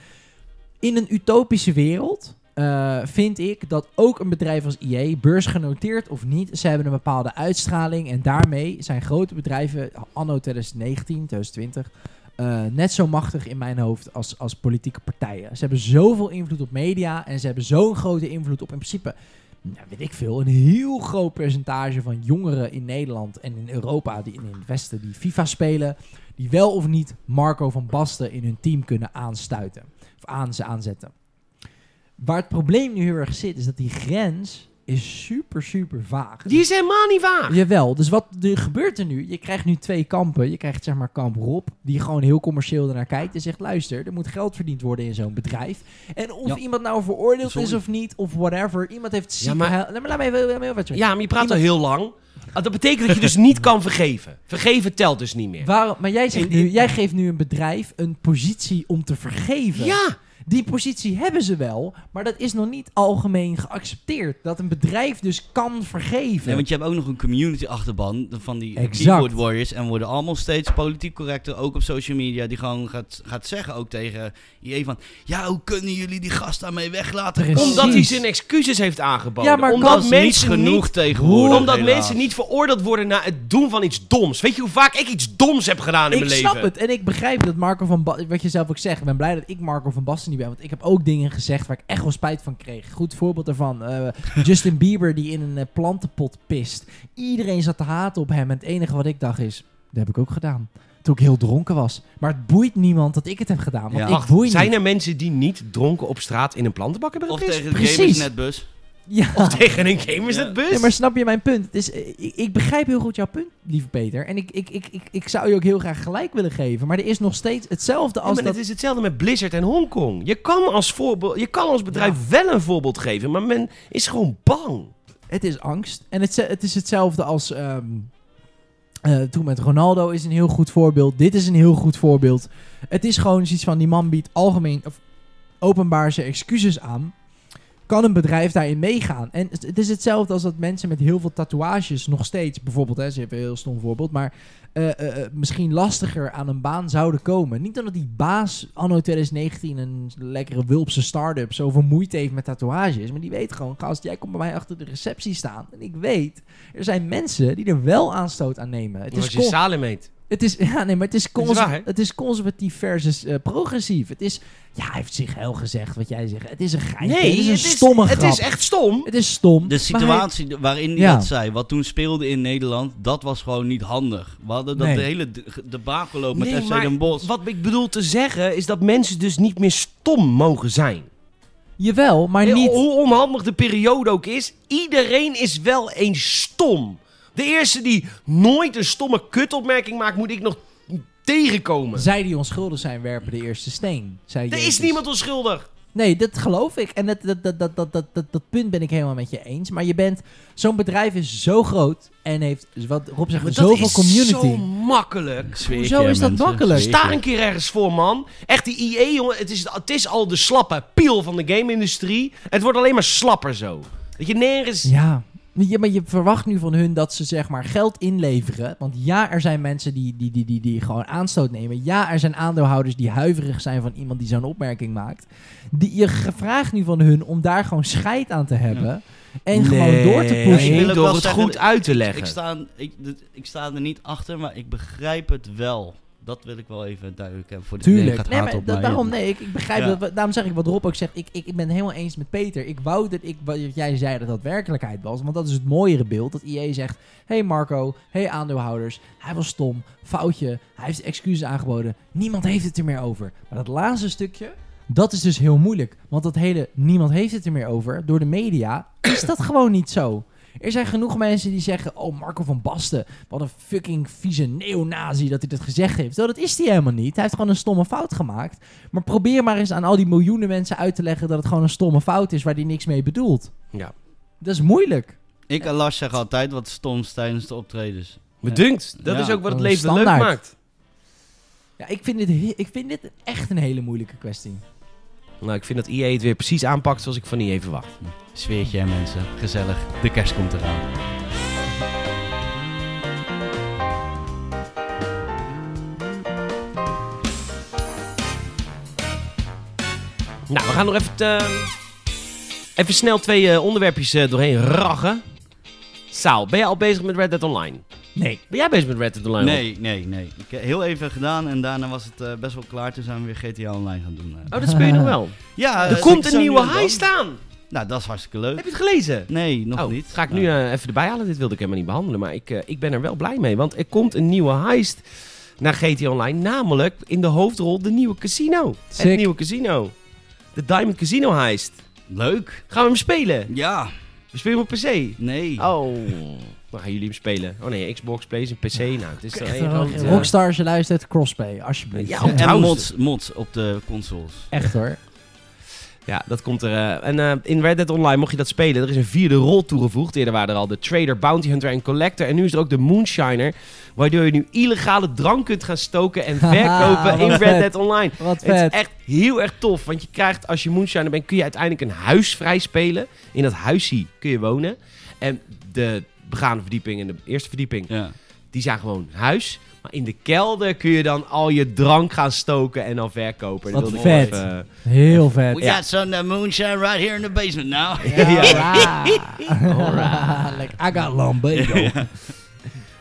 In een utopische wereld eh, vind ik dat ook een bedrijf als IE, beursgenoteerd of niet, ze hebben een bepaalde uitstraling en daarmee zijn grote bedrijven anno 2019, 2020 eh, net zo machtig in mijn hoofd als, als politieke partijen. Ze hebben zoveel invloed op media en ze hebben zo'n grote invloed op in principe nou, weet ik veel, een heel groot percentage van jongeren in Nederland en in Europa die en in het Westen die FIFA spelen, die wel of niet Marco van Basten in hun team kunnen aanstuiten of aan ze aanzetten. Waar het probleem nu heel erg zit, is dat die grens is super, super vaag. Die is helemaal niet Ah. waar. Jawel, dus wat er gebeurt er nu? Je krijgt nu twee kampen. Je krijgt zeg maar kamp Rob, die gewoon heel commercieel ernaar kijkt en zegt... luister, er moet geld verdiend worden in zo'n bedrijf. En of Ja. iemand nou veroordeeld Sorry. is of niet, of whatever. Iemand heeft ziek... Ja, maar- gehuild. Laat me- laat me even- laat me even wat zeggen. Ja, maar je praat al heel lang. Ah, Dat betekent dat je dus niet kan vergeven. Vergeven telt dus niet meer. Waarom, maar jij, zegt In- in- nu, jij geeft nu een bedrijf een positie om te vergeven. Ja, Die positie hebben ze wel, maar dat is nog niet algemeen geaccepteerd. Dat een bedrijf dus kan vergeven. Nee, want je hebt ook nog een community achterban van die Exact. keyboard warriors. En worden allemaal steeds politiek correcter, ook op social media. Die gewoon gaat, gaat zeggen ook tegen je van... Ja, hoe kunnen jullie die gast daarmee weglaten? Precies. Kom, dat omdat hij zijn excuses heeft aangeboden. Ja, maar omdat dat is niet mensen genoeg niet- tegenwoordig, omdat helaas. mensen niet veroordeeld worden na het doen van iets doms. Weet je hoe vaak ik iets doms heb gedaan in ik mijn leven? snap het en ik begrijp dat Marco van Basten, wat je zelf ook zegt, ik ben blij dat ik Marco van Basten niet ben, want ik heb ook dingen gezegd waar ik echt wel spijt van kreeg. Goed voorbeeld daarvan, eh, Justin Bieber die in een eh, plantenpot pist. Iedereen zat te haten op hem en het enige wat ik dacht is, dat heb ik ook gedaan. Toen ik heel dronken was. Maar het boeit niemand dat ik het heb gedaan, want Ja. ik Wacht, boei zijn niet. er mensen die niet dronken op straat in een plantenbak hebben Of gegist? tegen de precies. gamersnetbus. Ja. Of tegen een gamers Ja. het bus? Ja, maar snap je mijn punt? Het is, eh, ik, ik begrijp heel goed jouw punt, lieve Peter. En ik, ik, ik, ik, ik zou je ook heel graag gelijk willen geven. Maar er is nog steeds hetzelfde Ja, als maar dat... het is hetzelfde met Blizzard en Hongkong. Je kan als, voorbeeld, je kan als bedrijf wel een voorbeeld geven, maar men is gewoon bang. Het is angst. En het, het is hetzelfde als ehm, eh, toen met Ronaldo is een heel goed voorbeeld. Dit is een heel goed voorbeeld. Het is gewoon zoiets van die man biedt algemeen of openbaar zijn excuses aan. Kan een bedrijf daarin meegaan? En het- het is hetzelfde als dat mensen met heel veel tatoeages nog steeds, bijvoorbeeld, hè, ze hebben een heel stom voorbeeld, maar eh, eh, eh, misschien lastiger aan een baan zouden komen. Niet omdat die baas anno 2019 een lekkere Wulpse start-up zoveel moeite heeft met tatoeages. Maar die weet gewoon, gast, jij komt bij mij achter de receptie staan. En ik weet, er zijn mensen die er wel aanstoot aan nemen. Het Het is is je con- Salem heet. Het is, ja, nee, maar het is, cons- Is waar, hè? het is conservatief versus eh, progressief. Het is, ja, hij heeft zich heel gezegd wat jij zegt. Het is een geintje. het is een stomme het grap. is echt stom. het is De stom. maar hij- situatie waarin hij Ja. dat zei, wat toen speelde in Nederland, dat was gewoon niet handig. We hadden dat Nee. de hele d- debakel lopen Nee, met FC maar Den Bosch. Wat ik bedoel te zeggen is dat mensen dus niet meer stom mogen zijn. Jawel, maar Hey, niet... Hoe onhandig de periode ook is, iedereen is wel eens stom. De eerste die nooit een stomme kutopmerking maakt, moet ik nog tegenkomen. Zij die onschuldig zijn, werpen de eerste steen. Zei Er is Jezus. niemand onschuldig. Nee, dat geloof ik. En dat, dat, dat, dat, dat, dat, dat, dat punt ben ik helemaal met je eens. Maar je bent... Zo'n bedrijf is zo groot en heeft, wat Rob zegt, Maar dat zoveel is community. zo makkelijk. Zweer ik hoezo je, is dat mensen, makkelijk? zweer ik Sta je. een keer ergens voor, man. Echt, die IE, jongen, het is, het is al de slappe piel van de game-industrie. Het wordt alleen maar slapper zo. Dat je nergens... Ja. Ja, maar je verwacht nu van hun dat ze zeg maar geld inleveren. Want ja, er zijn mensen die, die, die, die, die gewoon aanstoot nemen. Ja, er zijn aandeelhouders die huiverig zijn van iemand die zo'n opmerking maakt. Die, je ge- vraagt nu van hun om daar gewoon scheid aan te hebben. En gewoon door te pushen. Ik wil ook door wel het zeggen, goed uit te leggen. Ik sta, ik, dit- ik sta er niet achter, maar ik begrijp het wel. Dat wil ik wel even duidelijk hebben voor de Tuurlijk. gaat Nee, haat maar op da- mij. daarom nee, ik, ik begrijp Ja. dat. we- Daarom zeg ik wat Rob ook zegt. Ik, ik, ik ben helemaal eens met Peter. Ik wou dat ik wat jij zei dat dat werkelijkheid was, want dat is het mooiere beeld dat IE zegt: "Hey Marco, hey aandeelhouders, hij was stom, foutje, hij heeft excuses aangeboden. Niemand heeft het er meer over." Maar dat laatste stukje dat is dus heel moeilijk, want dat hele niemand heeft het er meer over door de media is dat gewoon niet zo. Er zijn genoeg mensen die zeggen: Oh, Marco van Basten, wat een fucking vieze neonazi dat hij dat gezegd heeft. Wel, dat is hij helemaal niet. Hij heeft gewoon een stomme fout gemaakt. Maar probeer maar eens aan al die miljoenen mensen uit te leggen dat het gewoon een stomme fout is waar hij niks mee bedoelt. Ja. Dat is moeilijk. Ik en Lars zeggen altijd wat stoms tijdens de optredens. Me dunkt. Dat Ja, is ook wat het gewoon leven leuk standaard. maakt. Ja, ik vind dit, he- ik vind dit echt een hele moeilijke kwestie. Nou, ik vind dat IE het weer precies aanpakt zoals ik van IE verwacht. Sfeertje en mensen, gezellig. De kerst komt eraan. Nou, we gaan nog even, eh, even snel twee eh, onderwerpjes eh, doorheen raggen. Saal, ben jij al bezig met Red Dead Online? Nee. Ben jij bezig met Red Dead Online? Nee, nee, nee. Ik heb heel even gedaan en daarna was het eh, best wel klaar. Toen zijn we weer GTA Online gaan doen. eh. Oh, dat speel je nog wel. Ja, eh, er komt zo een nu nieuwe en dan. heist aan. Nou, dat is hartstikke Heb leuk. je het gelezen? Nee, nog oh, niet. Ga ik Nou, nu eh, even erbij halen. Dit wilde ik helemaal niet behandelen. Maar ik, eh, ik ben er wel blij mee. Want er komt een nieuwe heist naar GT Online. Namelijk in de hoofdrol de nieuwe casino. Het Sick. nieuwe casino. De Diamond Casino heist. Leuk. Gaan we hem spelen? Ja, We spelen hem op PC. nee. Oh, waar gaan jullie hem spelen? Oh nee, Xbox, PlayStation, PC. Nou, het is er Echt, één eh, grote... eh, Rockstar, als je luistert, crossplay, alsjeblieft. Ja, En onthoud mods, mods op de consoles. Echt hoor. Ja, dat komt er. eh, en eh, in Red Dead Online mocht je dat spelen. Er is een vierde rol toegevoegd. Eerder waren er al de Trader, Bounty Hunter en Collector. En nu is er ook de Moonshiner. Waardoor je nu illegale drank kunt gaan stoken en Haha, verkopen in wat Red vet. Dead Online. Wat Het vet. is echt heel erg tof. Want je krijgt, als je Moonshiner bent, kun je uiteindelijk een huis vrij spelen. In dat huisje kun je wonen. En de begane verdieping en de eerste verdieping, Ja. die zijn gewoon huis. Maar in de kelder kun je dan al je drank gaan stoken en dan verkopen. Wat ik nog vet. even- eh, Heel We vet. Ja. got some uh, moonshine right here in the basement now. Ja. Like, I got Lambedo.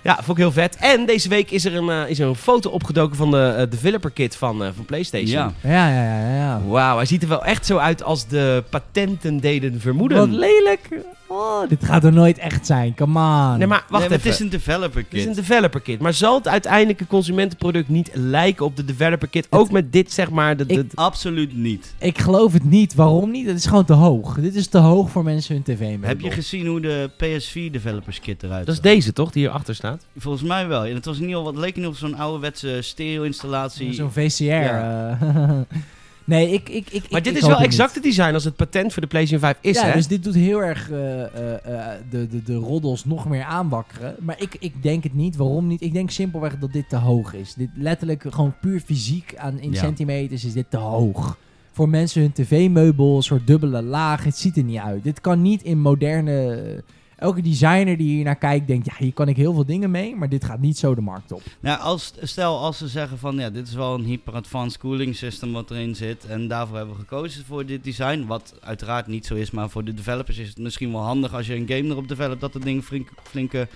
Ja, vond ik heel vet. En deze week is er een, eh, is er een foto opgedoken van de eh, developer kit van, eh, van PlayStation. Ja. Ja, ja, ja, ja. Wauw, hij ziet er wel echt zo uit als de patenten deden Wat vermoeden. lelijk. Oh, dit gaat er nooit echt zijn. Come nee, maar wacht on. Nee, maar even. het is een developer Het is een kit. developer kit. Maar zal het uiteindelijke consumentenproduct niet lijken op de developer kit? Ook met dit, zeg maar. De, de- Ik- Absoluut niet. Ik geloof het niet. Waarom niet? Het is gewoon te hoog. Dit is te hoog voor mensen hun tv Heb je gezien hoe de PS4 developers kit eruit Dat is zag? deze, toch? Die hierachter staat. Volgens mij wel. En het was niet al wat leek niet op zo'n ouderwetse stereo installatie. Zo'n VCR. Ja. eh. nee, ik, ik, ik, Maar ik- dit ik is wel hoop het exact het niet. design als het patent voor de PlayStation 5 is, ja, hè? dus dit doet heel erg eh, eh, eh, de, de, de roddels nog meer aanwakkeren. Maar ik, ik denk het niet. Waarom niet? Ik denk simpelweg dat dit te hoog is. Dit letterlijk gewoon puur fysiek aan in Ja. centimeters is dit te hoog. Voor mensen hun tv-meubel, een soort dubbele laag. Het ziet er niet uit. Dit kan niet in moderne... eh, Elke designer die hier naar kijkt denkt, ja, hier kan ik heel veel dingen mee, maar dit gaat niet zo de markt op. Nou, als, stel als ze zeggen van ja, dit is wel een hyper-advanced cooling system wat erin zit. En daarvoor hebben we gekozen voor dit design. Wat uiteraard niet zo is, maar voor de developers is het misschien wel handig als je een game erop developt. Dat het ding flink, flinke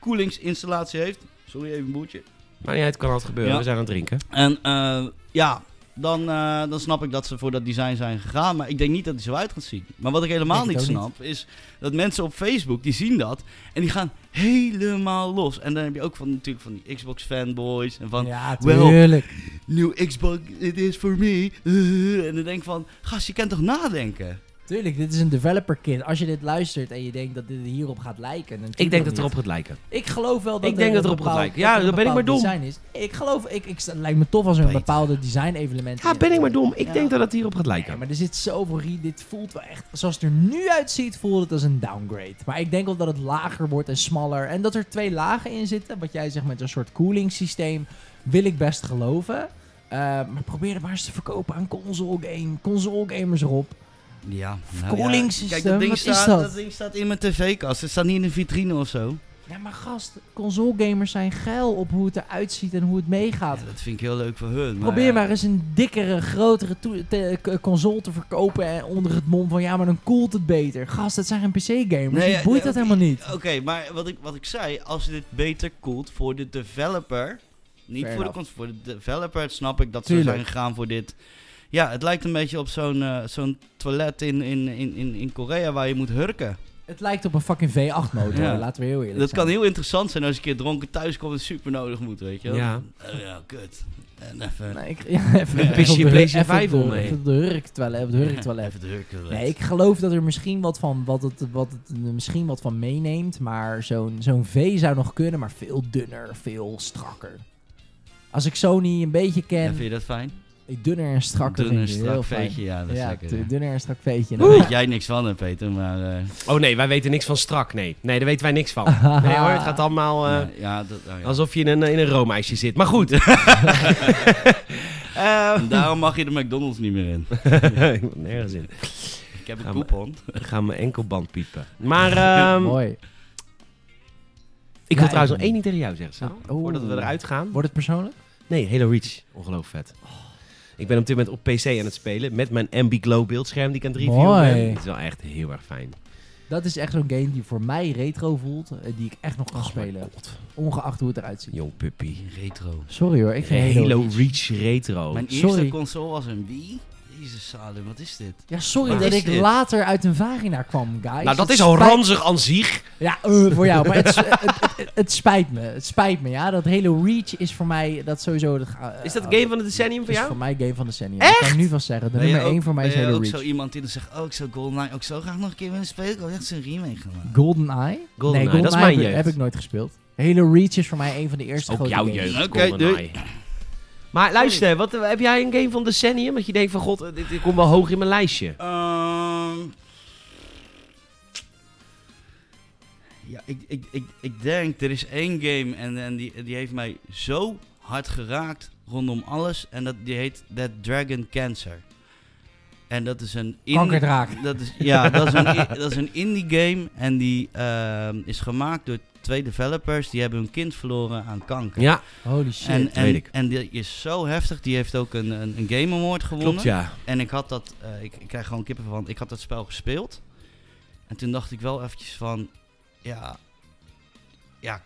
koelingsinstallatie heeft. Sorry, even een boertje. Maar ja, het kan altijd gebeuren. Ja. We zijn aan het drinken. En eh, ja, dan, eh, dan snap ik dat ze voor dat design zijn gegaan. Maar ik denk niet dat hij zo uit gaat zien. Maar wat ik helemaal Denk niet het ook snap, is dat mensen op Facebook, die zien dat. En die gaan helemaal los. En dan heb je ook van, natuurlijk van die Xbox fanboys. En van, ja, wel- tuurlijk. nieuw Xbox, it is for me. En dan denk ik van, gast, je kan toch nadenken? Tuurlijk, dit is een developer kit. Als je dit luistert en je denkt dat dit hierop gaat lijken... Dan Ik denk dat het het erop gaat lijken. Ik geloof wel dat Ik denk er dat een erop gaat bepaald- lijken. Ja, dat er een dan ben ik maar bepaald dom. design is. Ik geloof... Ik, ik, het lijkt me tof als er een Peter. bepaalde design-element Ja, in ben ik zit. maar dom. Ik Ja. denk dat het hierop gaat Nee, lijken. maar er zit zoveel rie. Dit voelt wel echt... Zoals het er nu uitziet, voelt het als een downgrade. Maar ik denk wel dat het lager wordt en smaller. En dat er twee lagen in zitten. Wat jij zegt met een soort cooling systeem. Wil ik best geloven. Eh, maar probeer het maar eens te verkopen aan console game. Console gamers erop. Ja, Verkoelingssysteem, Kijk, dat ding, wat is staat, dat? ding staat in mijn tv-kast. Het staat niet in een vitrine of zo. Ja, maar gast. Console gamers zijn geil op hoe het eruit ziet en hoe het meegaat. Ja, dat vind ik heel leuk voor hun. Probeer maar eens een dikkere, grotere toe- te- k- console te verkopen en onder het mom van ja, maar dan koelt het beter. Gast, dat zijn geen PC-gamers. Nee, die ja, boeit nee, dat helemaal niet. Oké, maar wat ik, wat ik zei, als dit beter koelt voor de developer, niet Fair voor de enough. cons- voor de developer, snap ik dat ze Tuurlijk. zijn gegaan voor dit. Ja, het lijkt een beetje op zo'n eh, zo'n toilet in, in, in, in, in Korea waar je moet hurken. Het lijkt op een fucking V8-motor, Ja. laten we heel eerlijk Dat zijn. kan heel interessant zijn als je een keer dronken thuis komt en super nodig moet, weet je wel. Ja. Oh ja, kut. En even... Nee, ik, ja, even Nee. Pis je op de- PlayStation even op 5 de- om mee. even op de hurktoilet. op het hurktoilet. Even het hurken. Nee, ik geloof dat er misschien wat van, wat het, wat het, eh, misschien wat van meeneemt, maar zo'n zo'n V zou nog kunnen, maar veel dunner, veel strakker. Als ik Sony een beetje Ja, ken, vind je dat fijn? dunner en strakker Dun en vind ik heel strak fijn. veetje, ja, dat is Ja, lekker. tu- ja. dunner en strak veetje. Daar weet jij niks van, hè, Peter, maar... eh, Oh nee, wij weten niks van strak. Nee, nee daar weten wij niks van. Ah. Nee hoor, het gaat allemaal... eh, nou, ja, dat, nou ja. Alsof je in een, in een roomijsje zit. Maar goed. Eh, Daarom mag je de McDonald's niet meer in. ik heb nergens in. Ik heb Ga een maar- coupon. Ik ga mijn enkelband piepen. Maar ehm, Mooi. ik Ja, wil trouwens ik- nog één ding tegen jou zeggen. Sam. Oh. Voordat we eruit gaan. Wordt het persoonlijk? Nee, Halo Reach. Ongelooflijk Oh. vet. Ik ben op dit moment op PC aan het spelen. Met mijn Ambiglow beeldscherm die ik aan het reviewen Mooi. ben. Het is wel echt heel erg fijn. Dat is echt zo'n game die voor mij retro voelt, eh, die ik echt nog kan Oh, spelen. Ongeacht hoe het eruit ziet. Jong puppy. Retro. Sorry hoor, ik vind Halo, Halo... Reach Retro. Mijn Oh. sorry. eerste console was een Wii. Jezus Salem, wat is dit? Ja, sorry Wat dat is ik dit? later uit een vagina kwam, guys. nou, dat Het is al spijt- ranzig aan zich. Ja, eh, voor jou, maar het, s- het, het, het- het spijt me. Het spijt me, ja. Dat Halo Reach is voor mij, dat sowieso... Dat, ga- eh, Is dat game van het decennium voor is jou? voor mij game van de decennium. Echt? Dat kan ik nu vast zeggen. De Ben je nummer ook- 1 voor mij is ben je Halo ook Reach. zo iemand die dan zegt, oh, ik zou GoldenEye ook zo graag nog een keer willen spelen. Ik wil echt zo'n remake gaan maken. GoldenEye? GoldenEye, nee, GoldenEye dat is mijn heb, jeugd. heb ik nooit gespeeld. Halo Reach is voor mij een van de eerste Ook grote jouw games. jeugd, Oké, GoldenEye. Maar luister, wat, heb jij een game van decennium? Dat je denkt van, god, dit, dit komt wel hoog in mijn lijstje. Ehm, ja, ik, ik, ik, ik denk, er is één game en, en die, die heeft mij zo hard geraakt rondom alles. En dat, die heet That Dragon Cancer. En dat is een... indie- Kankerdraak. Dat is, ja, dat is, een, i- dat is een indie game en die ehm, is gemaakt door twee developers. Die hebben hun kind verloren aan kanker. Ja, Holy shit. en, en, weet ik. en die is zo heftig. Die heeft ook een, een, een Game Award gewonnen. klopt ja. En ik had dat, eh, ik, ik krijg gewoon kippen van, ik had dat spel gespeeld. En toen dacht ik wel eventjes van, ja, ja,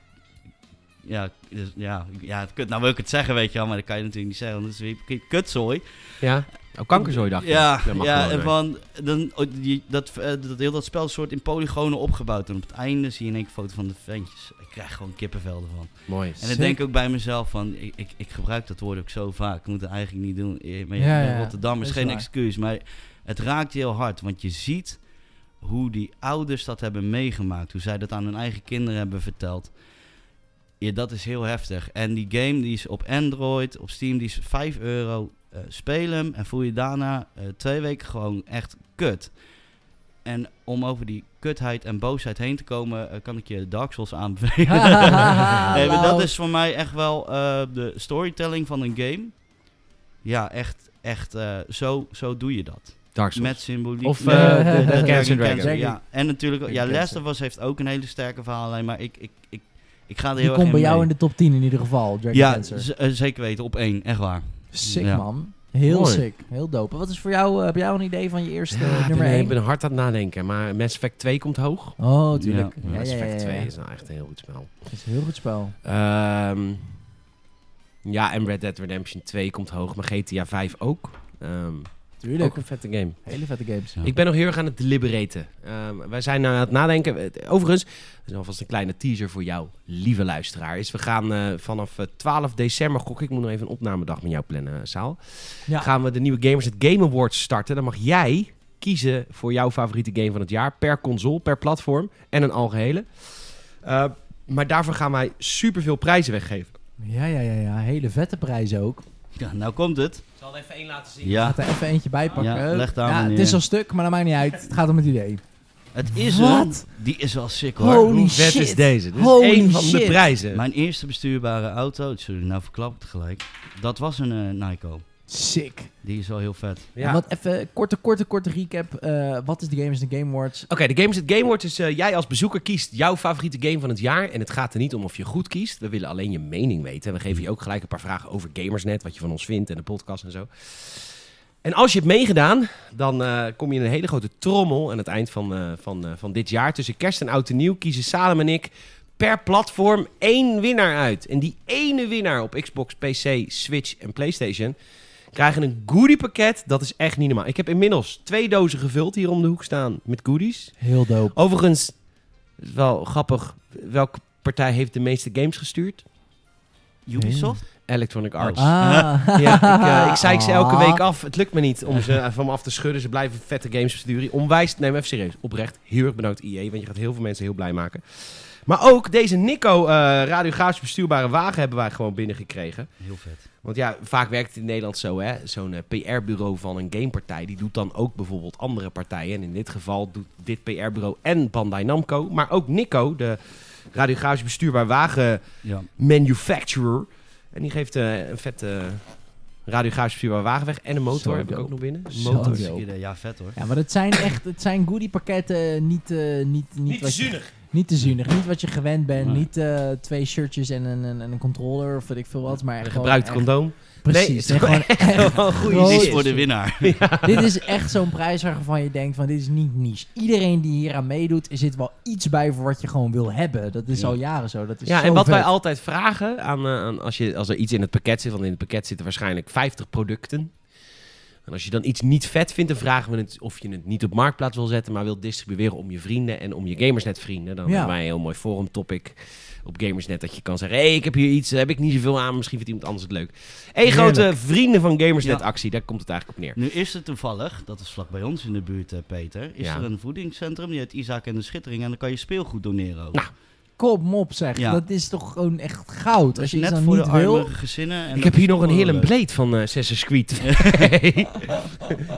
ja, dus, ja, ja, kut. Nou wil ik het zeggen, weet je wel, maar dat kan je natuurlijk niet zeggen, want het is weer kutzooi. Ja, oh, kankerzooi dacht ik. Ja, Dat mag ja gewoon, en hè. van, dan, oh, die, dat, eh, dat, heel dat spel is soort in polygonen opgebouwd. En op het einde zie je in één keer een foto van de ventjes. Ik krijg gewoon kippenvelden van. Mooi. En dan denk ik ook bij mezelf van, ik, ik, ik gebruik dat woord ook zo vaak. Ik moet het eigenlijk niet doen. Eh, Maar Ja, ja, Rotterdam is is geen waar. excuus. Maar het raakt je heel hard. Want je ziet hoe die ouders dat hebben meegemaakt. Hoe zij dat aan hun eigen kinderen hebben verteld. Ja, dat is heel heftig. En die game die is op Android, op Steam, die is 5 euro. Eh, speel hem en voel je daarna eh, twee weken gewoon echt kut. En om over die kutheid en boosheid heen te komen, eh, kan ik je Dark Souls Ah, aanbevelen. nee, maar dat Lauw. is voor mij echt wel eh, de storytelling van een game. Ja, echt, echt eh, zo, zo doe je dat. Dark Souls. Met symboliek. Of Met- eh, de- Ja. de, Dragon Cancer Dragon. Cancer. Ja, en natuurlijk, ja, Dragon Last of Us heeft ook een hele sterke verhaallijn, maar ik, ik, ik, ik ga er heel Die erg komt bij jou mee. in de top 10 in ieder geval, Dragon Ja, Cancer. z- eh, zeker weten, op één, echt waar. Sick Ja. man. Heel Mooi. sick. Heel dope. Wat is voor jou, eh, heb jij een idee van je eerste Ja, eh, ik nummer ben, 1? ik ben hard aan het nadenken, maar Mass Effect 2 komt hoog. Oh, tuurlijk. Ja, Ja, ja, Mass ja, ja, Effect ja. 2 is nou echt een heel goed spel. Dat is een heel goed spel. Ehm, Ja, en Red Dead Redemption 2 komt hoog, maar GTA 5 ook. Ehm, Tuurlijk. ook een vette game. Hele vette games. Ja. Ik ben nog heel erg aan het deliberaten. Ehm, wij zijn nou aan het nadenken. Overigens, dat is alvast een kleine teaser voor jou, lieve luisteraar. Is we gaan eh, vanaf eh, 12 december, gok ik, moet nog even een opnamedag met jou plannen, eh, Saal. Ja. Gaan we de nieuwe Gamers het Game Awards starten. Dan mag jij kiezen voor jouw favoriete game van het jaar. Per console, per platform en een algehele. Eh, maar daarvoor gaan wij superveel prijzen weggeven. Ja, ja, ja, ja. Hele vette prijzen ook. Ja, nou komt het. Ik zal er even één laten zien. Ja, Laat er even eentje bij pakken. Ja, leg het aan, ja, meneer. het is al stuk, maar dat maakt niet uit. Het gaat om het idee. het is Wat? een. Die is wel sick hoor. Holy Hoe vet shit. is deze? Dit Holy is één van de shit. prijzen. Mijn eerste bestuurbare auto, sorry, nou verklap ik het gelijk. Dat was een eh, Nyko. Sick. Die is wel heel vet. En Wat even korte, korte, korte recap. eh, wat is de Games and Game Awards? Oké, de Games at Game Awards is eh, jij als bezoeker kiest jouw favoriete game van het jaar. En het gaat er niet om of je goed kiest. We willen alleen je mening weten. We geven je ook gelijk een paar vragen over Gamersnet. Wat je van ons vindt en de podcast en zo. En als je hebt meegedaan, dan eh, kom je in een hele grote trommel aan het eind van, eh, van, eh, van dit jaar. Tussen kerst en oud en nieuw kiezen Salem en ik per platform één winnaar uit. En die ene winnaar op Xbox, PC, Switch en PlayStation krijgen een goodiepakket. Dat is echt niet normaal. Ik heb inmiddels twee dozen gevuld hier om de hoek staan met goodies. Heel dope. Overigens, is wel grappig, welke partij heeft de meeste games gestuurd? Ubisoft? Electronic Arts. Ah. Ja, ik, eh, ik zeik ze elke Ah. week af. Het lukt me niet om ze van me af te schudden. Ze blijven vette games versturen. Onwijs, nee, maar even serieus. Oprecht, heel erg bedankt IE, want je gaat heel veel mensen heel blij maken. Maar ook deze Nico eh radiografisch bestuurbare wagen hebben wij gewoon binnengekregen. Heel vet. Want ja, vaak werkt het in Nederland zo, hè. Zo'n eh, PR-bureau van een gamepartij, die doet dan ook bijvoorbeeld andere partijen. En in dit geval doet dit PR-bureau en Bandai Namco, maar ook Nico, de radiografisch bestuurbaar wagen Ja. manufacturer. En die geeft eh, een vette radiografisch bestuurbaar wagen weg. En een motor Zo heb ik ook dope. nog binnen. Dus Een Zo motor. dope. Zie je de- Ja, vet hoor. Ja, maar het zijn echt het zijn goodie pakketten. Niet, eh, niet, niet, wat je- niet te zuinig. Niet wat je gewend bent. Nee. Niet eh, twee shirtjes en een, een, een controller of weet ik veel wat. Maar Een gewoon gebruikt echt- condoom. Nee, Precies. het is en gewoon echt, Gewoon Oh, goede Die shit. is voor de winnaar. dit is echt zo'n prijs waarvan je denkt van dit is niet niche. Iedereen die hier aan meedoet, er zit wel iets bij voor wat je gewoon wil hebben. Dat is Ja. al jaren zo. Dat is Ja, zo en wat vet. wij altijd vragen aan, eh, aan als, je, als er iets in het pakket zit, want in het pakket zitten waarschijnlijk 50 producten. En als je dan iets niet vet vindt, dan vragen we het of je het niet op marktplaats wil zetten, maar wilt distribueren om je vrienden en om je gamersnet vrienden. Dan Ja. hebben wij een heel mooi forum topic op gamersnet dat je kan zeggen: hey, ik heb hier iets, heb ik niet zoveel aan, misschien vindt iemand anders het leuk. Eén grote Heerlijk. vrienden van gamersnet Ja. actie, daar komt het eigenlijk op neer. Nu is er toevallig, dat is vlak bij ons in de buurt, eh, Peter, is Ja. er een voedingscentrum, die heet Isaac en de Schittering, en dan kan je speelgoed doneren ook. Nou, Kom op zeg, Ja. dat is toch gewoon echt goud. dat Als is je iets net dan voor de niet wil, armere gezinnen. En ik dat heb is hier nog een wel hele leuk. bleed van eh Assassin's Creed.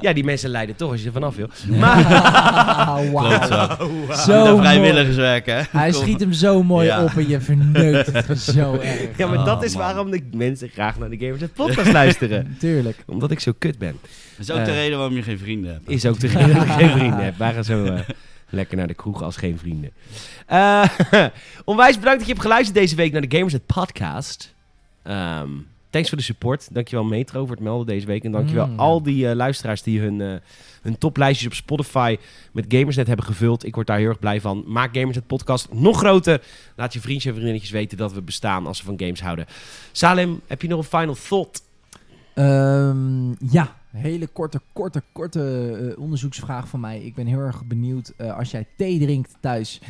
ja, die mensen lijden toch als je er vanaf wil. Maar Wauw. Klootzak. Zo De mooi. vrijwilligerswerk, hè? Hij Kom. schiet hem zo mooi Ja. op en je verneukt het zo erg. Ja, maar dat Oh, is man. waarom de mensen graag naar de Gamers Net podcast luisteren. Tuurlijk. Omdat ik zo kut ben. Dat is ook de Eh. reden waarom je geen vrienden hebt. Is ook de reden dat ik geen vrienden heb. Wij gaan zo eh, lekker naar de kroeg als geen vrienden. Eh, onwijs bedankt dat je hebt geluisterd deze week naar de Gamers Net podcast. Ehm, thanks voor de support. Dankjewel Metro voor het melden deze week. En dankjewel Mm. al die eh, luisteraars die hun, eh, hun toplijstjes op Spotify met Gamersnet hebben gevuld. Ik word daar heel erg blij van. Maak Gamersnet podcast nog groter. Laat je vriendjes en vriendinnetjes weten dat we bestaan als ze van games houden. Salem, heb je nog een final thought? Ehm, ja, hele korte, korte, korte eh, onderzoeksvraag van mij. Ik ben heel erg benieuwd eh, als jij thee drinkt thuis.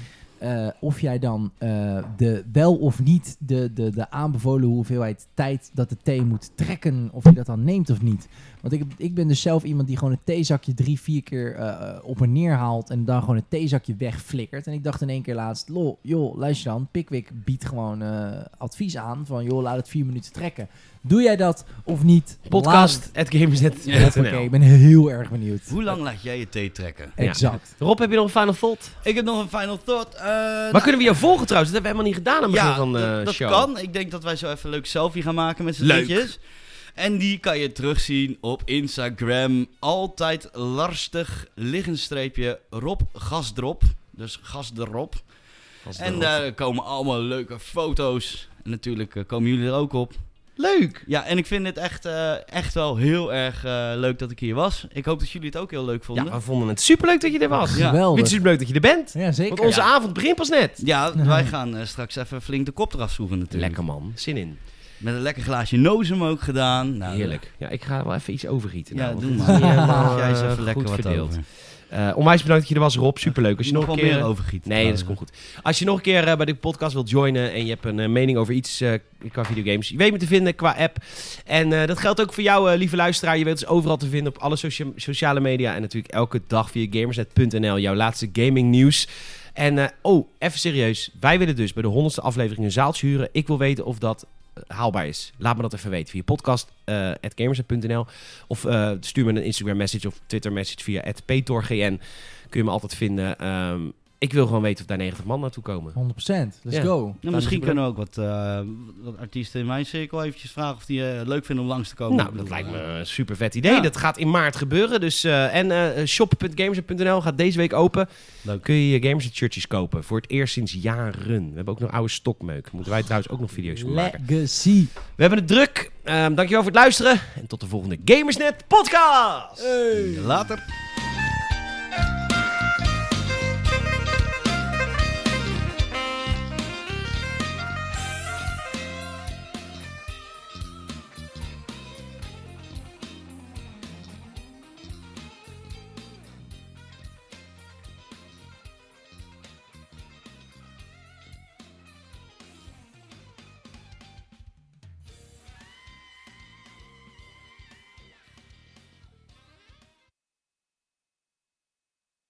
eh, of jij dan eh, de, wel of niet de, de, de aanbevolen hoeveelheid tijd dat de thee moet trekken, of je dat dan neemt of niet. Want ik, ik ben dus zelf iemand die gewoon het theezakje drie, vier keer eh, eh, op en neer haalt en dan gewoon het theezakje wegflikkert. En ik dacht in één keer laatst, lol, joh, luister dan, Pickwick biedt gewoon eh, advies aan van, joh, laat het vier minuten trekken. Doe jij dat of niet? Podcast at gamersnet.nl. Laat- Oké, ik ben heel erg benieuwd. Hoe lang laat jij je thee trekken? Ja. Exact. Rob, heb je nog een final thought? Ik heb nog een final thought. eh, Waar kunnen we jou volgen trouwens? Dat hebben we helemaal niet gedaan aan het begin ja, van de dat, dat show. kan. Ik denk dat wij zo even een leuk selfie gaan maken met z'n Leuk. drietjes. En die kan je terugzien op Instagram. Altijd lastig liggenstreepje Rob Gasdrop. Dus Gasdrop. Als het En eh, erop- daar komen allemaal leuke foto's. En natuurlijk eh, komen jullie er ook op. Leuk! Ja, en ik vind het echt, eh, echt wel heel erg eh, leuk dat ik hier was. Ik hoop dat jullie het ook heel leuk Ja, vonden. we vonden het superleuk dat je er was. Ja. Ik vind Geweldig. het superleuk dat je er bent. Ja, zeker. Want onze Ja. avond begint pas net. Ja, wij gaan eh, straks even flink de kop eraf zoeken natuurlijk. Lekker man, zin in. Met een lekker glaasje nozem ook gedaan. Nou, Heerlijk. Ja, ik ga wel even iets overgieten. Ja, nou, want doe het is maar. niet helemaal, Als jij eens eh, even lekker goed wat verdeeld. over. Eh, onwijs bedankt dat je er was, Rob. Superleuk. Als je nog, wel een keer... meer overgieten. Nee, dat komt goed. Als je nog een keer eh, bij de podcast wilt joinen en je hebt een eh, mening over iets eh, qua videogames, je weet me te vinden qua app. En eh, dat geldt ook voor jou, eh, lieve luisteraar. Je weet ons overal te vinden op alle socia- sociale media en natuurlijk elke dag via gamersnet.nl, jouw laatste gaming nieuws. En eh, oh, even serieus. Wij willen dus bij de honderdste aflevering een zaaltje huren. Ik wil weten of dat eh, haalbaar is. Laat me dat even weten via eh, podcast.gamersnet.nl of eh, stuur me een Instagram message of Twitter message via @petorgn. Kun je me altijd vinden. Ehm, ik wil gewoon weten of daar 90 man naartoe komen. 100%. Let's Ja. go. Nou, misschien kunnen we ook wat, eh, wat artiesten in mijn cirkel eventjes vragen of die eh, leuk vinden om langs te komen. Nou, dat lijkt me een super vet idee. Ja. Dat gaat in maart gebeuren. Dus, eh, en eh shop.gamers.nl gaat deze week open. Dan Leuk. kun je je Gamers shirtjes kopen. Voor het eerst sinds jaren. We hebben ook nog oude stokmeuk. Moeten wij trouwens ook nog video's van maken. Legacy. We hebben het Eh. druk. Ehm, dankjewel voor het luisteren. En tot de volgende Gamersnet podcast. Later.